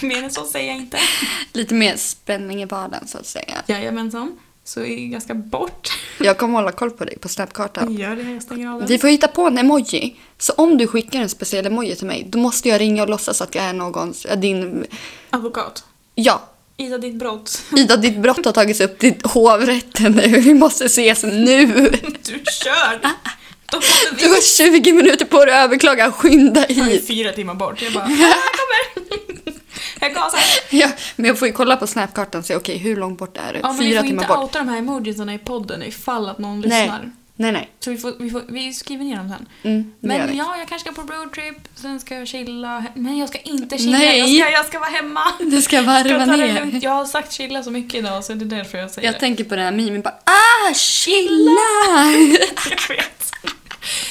Speaker 2: Mer än så säger jag inte.
Speaker 1: [laughs] Lite mer spänning i vardagen så att säga.
Speaker 2: Jajamensan. Så är jag ska bort.
Speaker 1: Jag kommer hålla koll på dig på snapkartan.
Speaker 2: [laughs] Gör det, jag stänger av den.
Speaker 1: Vi får hitta på en emoji. Så om du skickar en speciell emoji till mig, då måste jag ringa och låtsas att jag är någons, äh, din,
Speaker 2: Advokat.
Speaker 1: ja,
Speaker 2: Ida, ditt brott. [laughs]
Speaker 1: Ida ditt brott har tagits upp till hovrätten [laughs] nu. Vi måste ses nu.
Speaker 2: Du kör! Då
Speaker 1: [laughs]
Speaker 2: kommer
Speaker 1: Du
Speaker 2: vi.
Speaker 1: har 20 minuter på dig att överklaga, skynda
Speaker 2: Jag är
Speaker 1: hit.
Speaker 2: fyra timmar bort. Jag bara, ah, jag kommer! [laughs] Jag gasar.
Speaker 1: [laughs] Ja, men jag får ju kolla på snapkartan och se okej, hur långt bort är det?
Speaker 2: Ja, men vi
Speaker 1: Fyra
Speaker 2: får
Speaker 1: timmar
Speaker 2: inte
Speaker 1: bort.
Speaker 2: outa de här emojisarna i podden ifall att någon
Speaker 1: Nej.
Speaker 2: lyssnar.
Speaker 1: Nej, nej.
Speaker 2: Så vi, får, vi, får, vi skriver ner dem sen.
Speaker 1: Mm, det gör
Speaker 2: Men
Speaker 1: vi.
Speaker 2: ja, jag kanske ska på roadtrip, sen ska jag chilla. Nej, jag ska inte chilla.
Speaker 1: Nej.
Speaker 2: Jag, ska, jag ska vara hemma.
Speaker 1: Du ska
Speaker 2: Jag,
Speaker 1: varva
Speaker 2: ska ta det
Speaker 1: ner.
Speaker 2: lugnt. jag har sagt chilla så mycket idag så det är därför jag säger
Speaker 1: Jag tänker på den här mimen bara ah, chilla!
Speaker 2: det. [laughs] Jag vet.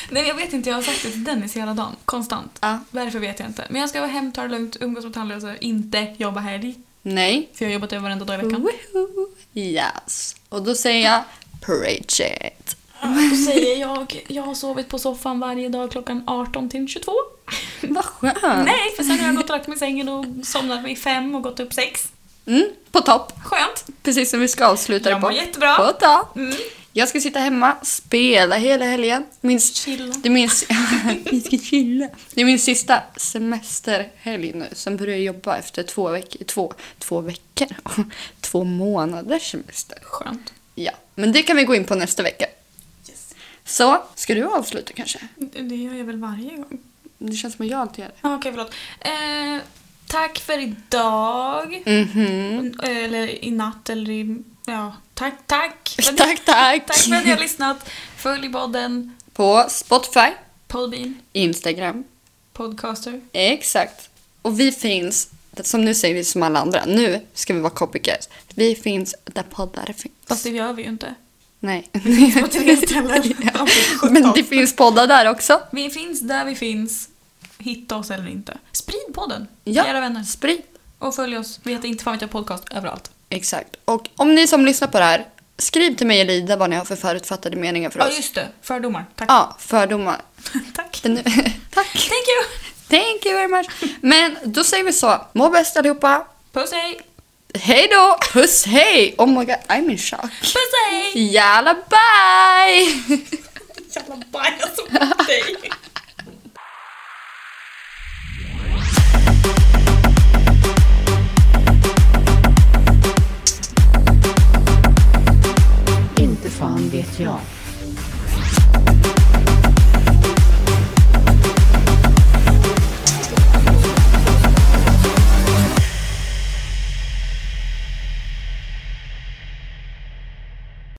Speaker 2: Nej, jag vet inte. Jag har sagt det till Dennis hela dagen. Konstant.
Speaker 1: [laughs] Ja.
Speaker 2: Varför vet jag inte. Men jag ska vara hem, ta det lugnt, umgås med tandlösa, inte jobba helg.
Speaker 1: Nej.
Speaker 2: För jag har jobbat över varenda dag i veckan.
Speaker 1: Woho. Yes. Och då säger jag preach it.
Speaker 2: Då säger jag, jag har sovit på soffan varje dag klockan 18 till 22.
Speaker 1: Vad skönt.
Speaker 2: Nej, för sen har jag gått och lagt mig i sängen och somnat vid fem och gått upp sex.
Speaker 1: Mm, på topp.
Speaker 2: Skönt.
Speaker 1: Precis som vi ska avsluta det
Speaker 2: Jag mår
Speaker 1: på.
Speaker 2: jättebra.
Speaker 1: På topp.
Speaker 2: Mm.
Speaker 1: Jag ska sitta hemma, spela hela helgen. Min,
Speaker 2: Chilla.
Speaker 1: det, är min, vi ska chilla. det är min sista semesterhelg nu. Sen börjar jag jobba efter två, veck, två, två veckor. [laughs] Två månaders semester.
Speaker 2: Skönt.
Speaker 1: Ja, men det kan vi gå in på nästa vecka.
Speaker 2: Yes.
Speaker 1: Så, ska du avsluta kanske?
Speaker 2: Det gör jag väl varje gång.
Speaker 1: Det känns som att jag alltid gör det.
Speaker 2: Ah, Okej, förlåt. Eh, tack för idag. Mm-hmm.
Speaker 1: Mhm.
Speaker 2: Mm. Eller i natt eller i... Ja, tack, tack. för-
Speaker 1: Tack, tack!
Speaker 2: Tack för att ni har lyssnat. Följ podden,
Speaker 1: På Spotify,
Speaker 2: Podbean,
Speaker 1: Instagram,
Speaker 2: Podcaster.
Speaker 1: Exakt. Och vi finns, som nu säger vi som alla andra, nu ska vi vara copycats. Vi finns där poddar finns.
Speaker 2: Fast det gör vi ju inte. [laughs]
Speaker 1: Nej.
Speaker 2: På tre ställen.
Speaker 1: [laughs] Ja. Men det finns poddar där också.
Speaker 2: Vi finns där vi finns. Hitta oss eller inte. Sprid podden,
Speaker 1: Ja.
Speaker 2: era vänner.
Speaker 1: Sprid.
Speaker 2: Och följ oss. Vi heter inte fan vet jag podcast överallt.
Speaker 1: Exakt. Och om ni som lyssnar på det här, skriv till mig eller Ida vad ni har för förutfattade meningar för
Speaker 2: Ja,
Speaker 1: oss.
Speaker 2: just det. Fördomar. Tack.
Speaker 1: Ja, fördomar.
Speaker 2: [laughs] Tack.
Speaker 1: Den- [laughs] Tack.
Speaker 2: Thank you.
Speaker 1: Thank you very much. Men då säger vi så. Må bäst allihopa.
Speaker 2: Puss hej.
Speaker 1: Hej då. Puss hej. Oh my god, I'm in shock.
Speaker 2: Puss hej.
Speaker 1: Jalla bye.
Speaker 2: Jävla [laughs] bajs på dig.
Speaker 3: Inte fan vet jag.